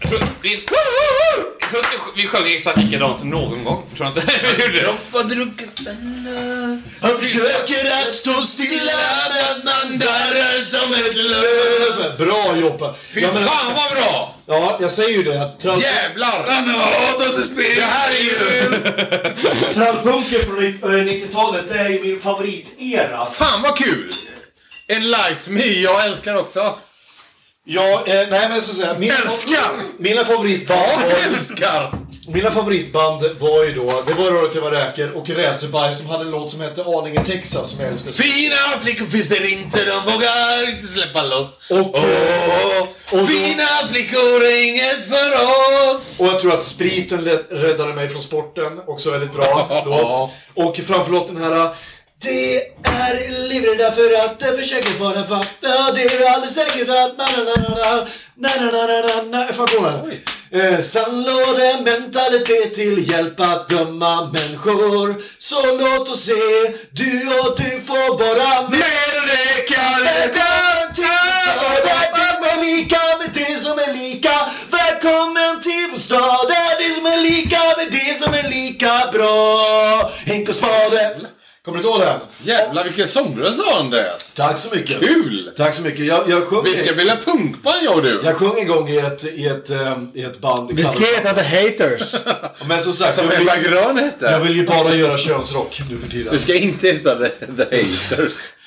Jag tror, vi, jag tror inte vi sjöng exakt likadant någon gång. Tror jag inte (laughs) vi gjorde det.
Vad druckit stanna.
Han försöker att stå stilla men man darrar som ett löv. Bra jobbat.
Fy fan vad bra!
ja, jag säger ju det. att Trall,
Jävlar!
Det här är ju...
trallpunken från eh, 90-talet det är ju min favoritera.
Fan vad kul! En light me, jag älskar också.
Ja, eh, nej men så att säga. Mina,
Älskar!
mina favoritband
Ja,
var,
älskar!
Mina favoritband var ju då, det var Rödtuva Räker och Racerbaj som hade en låt som hette Arlinge Texas som jag älskar.
Fina flickor finns det inte, de vågar inte släppa loss.
Och, eh,
Åh,
då-
fina flickor är inget för oss.
Och jag tror att spriten le- räddade mig från sporten. Också väldigt bra låt. Och framför låten här... Det är livrädda för att det försöker vara fatta. Det är alldeles säkert att na na na na na na na na na na Fan, går den? Eh, Sandlåde mentalitet till hjälp att döma människor. Så låt oss se, du och du får vara med.
Men det kan
Världen är lika med det som är lika Välkommen till vår stad Där det som är lika med det som är lika bra Henk och Spade Kommer du inte ihåg den?
Jävlar vilken sångröst du har Andreas.
Tack så mycket
Kul!
Tack så mycket, jag, jag sjöng
Vi ska bilda punkband jag och du.
jag sjöng en gång i ett, i ett, ehm, i ett band i Kalmar.
heta The Haters.
Men som sagt, jag
Som
vill,
Ebba Grön
jag
hette.
vill ju bara göra könsrock nu för tiden.
Vi ska inte heta The, the Haters.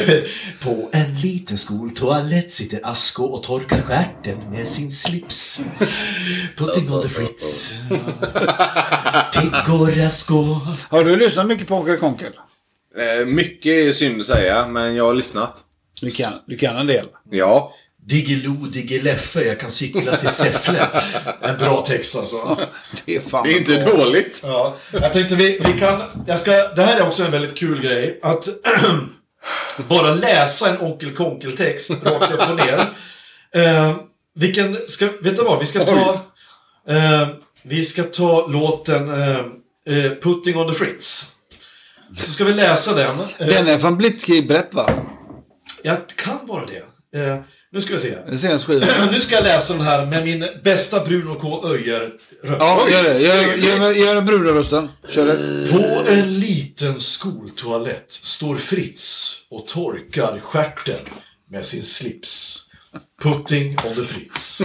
(laughs) På en liten skoltoalett sitter Asko och torkar stjärten med sin slips. Putting on the fritz. Pigg och Asko.
Har du lyssnat mycket på Onkel Konkel?
Eh, mycket är synd att säga, men jag har lyssnat.
Du kan, du kan en del.
Ja.
Diggiloo Diggileffe, jag kan cykla till Säffle. En bra text alltså.
Det är fan
Det är inte dåligt.
Ja, jag tänkte vi, vi kan... Jag ska, det här är också en väldigt kul grej.
(clears throat)
Att bara läsa en Onkel Konkel-text rakt upp och ner. Eh,
Vilken ska, vet du vad? Vi ska ta... Eh, vi ska ta låten eh, eh, Putting on the Fritz. Så ska vi läsa den. Eh,
Den är från Blitzkrieg Brett va?
Ja, det kan vara det. Eh, nu ska vi se.
Det ser en skiva.
(clears throat) nu ska jag läsa den här med min bästa Bruno K. Öijer-röst.
Ja, gör det. Gör, gör, gör brudrösten. Kör det.
På en liten skoltoalett står Fritz och torkar stjärten med sin slips. Putting on the Fritz.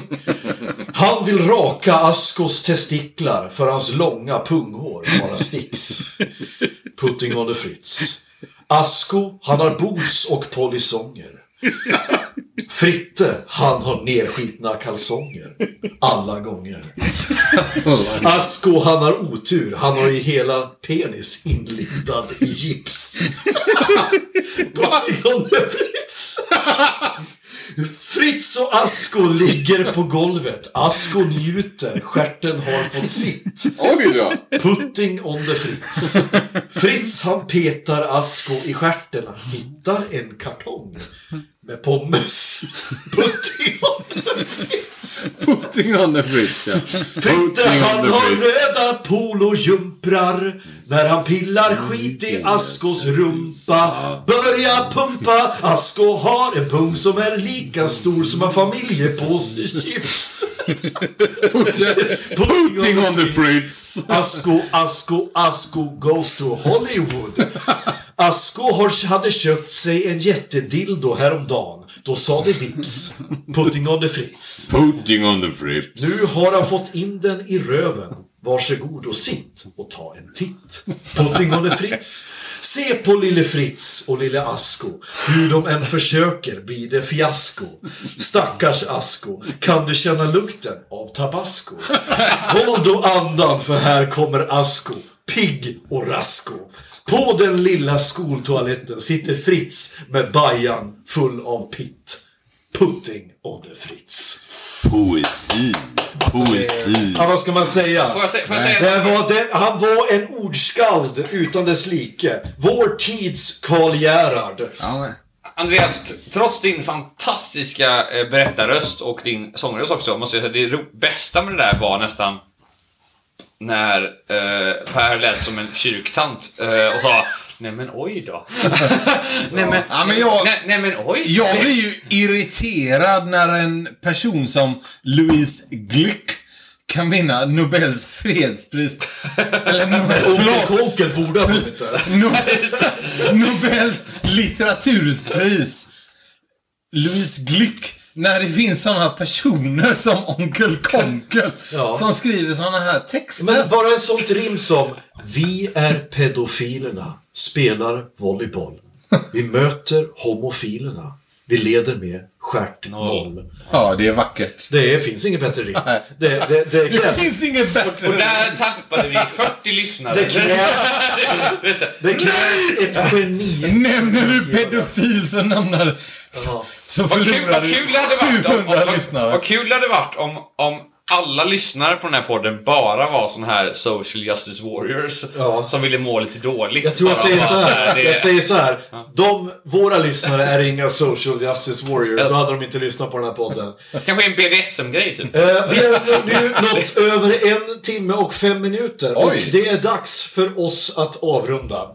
Han vill raka Askos testiklar för hans långa punghår bara sticks. Putting on the Fritz. Asko, han har boots och polisonger. Fritte, han har nerskitna kalsonger. Alla gånger. Asko, han har otur. Han har ju hela penis inlindad i gips. Putting on the Fritz. Fritz och Asko ligger på golvet. Asko njuter. Stjärten har fått sitt.
Oj då!
Putting on the Fritz. Fritz han petar Asko i stjärten. Han hittar en kartong med pommes. Putting on the Fritz.
Putting on the Fritz, ja.
Fritte
Putting on
han
the
har
Fritz.
röda polojumprar När han pillar skit i Askos rumpa Börja pumpa Asko har en pung som är lika stor som en familjepåse chips
Putting on the Fritz.
Asko, Asko, Asko goes to Hollywood. Asko har, hade köpt sig en jättedildo häromdagen. Då sa det vips. Putting on the fritz.
Putting on the Fritz.
Nu har han fått in den i röven. Varsågod och sitt och ta en titt. Putting on the Fritz. Se på lille Fritz och lille Asko. Hur de än försöker blir det fiasko. Stackars Asko, kan du känna lukten av tabasco? Håll då andan för här kommer Asko. Pigg och rasko. På den lilla skoltoaletten sitter Fritz med bajan full av pitt. Putting on the Fritz.
Poesi. Poesi.
Ja, vad ska man säga?
Får jag sä- får jag säga-
det var den, han var en ordskald utan dess like. Vår tids Karl Gerhard.
Alltså,
Andreas, trots din fantastiska eh, berättarröst och din sångröst också, måste jag säga det ro- bästa med det där var nästan när eh, Per lät som en kyrktant eh, och sa Nej men oj då. nej, men,
Ja, men jag-
nej, nej men oj.
Jag
Nej,
blir
ju irriterad när en person som Louise Glück kan vinna Nobels fredspris. Eller Nobel,
Onkel
förlåt,
Konkel borde ha vunnit det.
no- Nobels litteraturpris. Louise Glück. När det finns sådana personer som Onkel Konkel
Ja.
som skriver sådana här texter.
Men bara ett sånt rim som Vi är pedofilerna, spelar volleyboll. Vi möter homofilerna. Vi leder med stjärt noll.
Ja, det är vackert.
Det är, finns inget bättre rim. Det, det, det
Det
krävs.
finns inget bättre.
Och där tappade vi 40 lyssnare.
Det krävs,
(laughs) Det är så här,
det krävs ett geni.
Nämner du pedofil så nämner... Så, så
Vad kul,
förlorar
vad kul det hade
du
varit om, om,
700
vad,
lyssnare.
vad kul det hade varit om, om alla lyssnare på den här podden bara var sån här social justice warriors
Ja.
som ville må lite dåligt.
Jag tror jag
Bara
säger
vara
så här.
det-
Jag säger så här. De, våra lyssnare är inga social justice warriors. Då hade de inte lyssnat på den här podden.
Kanske en BDSM-grej typ.
Eh, vi har nu nått över en timme och fem minuter.
Oj.
Och det är dags för oss att avrunda.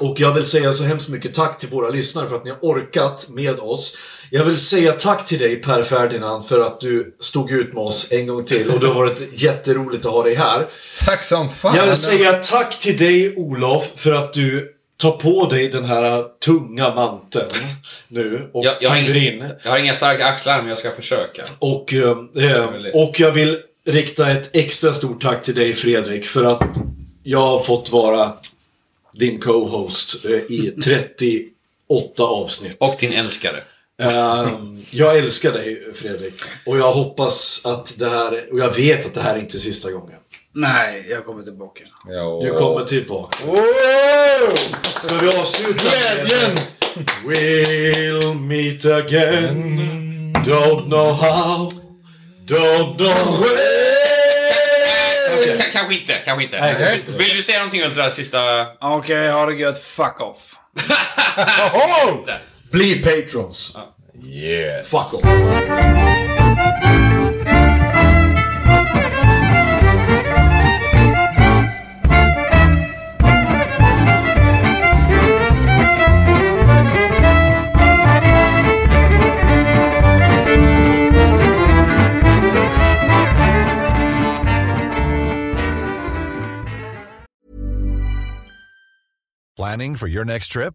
Och jag vill säga så hemskt mycket tack till våra lyssnare för att ni har orkat med oss. Jag vill säga tack till dig Per Ferdinand för att du stod ut med oss en gång till och det har varit jätteroligt att ha dig här.
Tack som fan.
Jag vill säga tack till dig Olof för att du tar på dig den här tunga manteln nu och
Jag, jag, har
kliver
inga,
in.
jag har inga starka axlar men jag ska försöka.
Och, ehm, ehm, och jag vill rikta ett extra stort tack till dig Fredrik för att jag har fått vara din co-host eh, i 38 avsnitt.
Och din älskare.
Ehm, jag älskar dig Fredrik och jag hoppas att det här, och jag vet att det här är inte är sista gången.
Nej, jag kommer tillbaka.
Du kommer tillbaka. Ska vi avsluta med-
Glädjen!
We'll meet again. Don't know how. Don't know where.
K- kanske inte, kanske inte.
kanske inte.
Vill du säga någonting Ultra, sista...
Okej, ha det gött. Fuck off.
Bli patrons.
Yeah.
Fuck off.
Thank
Planning for your next trip?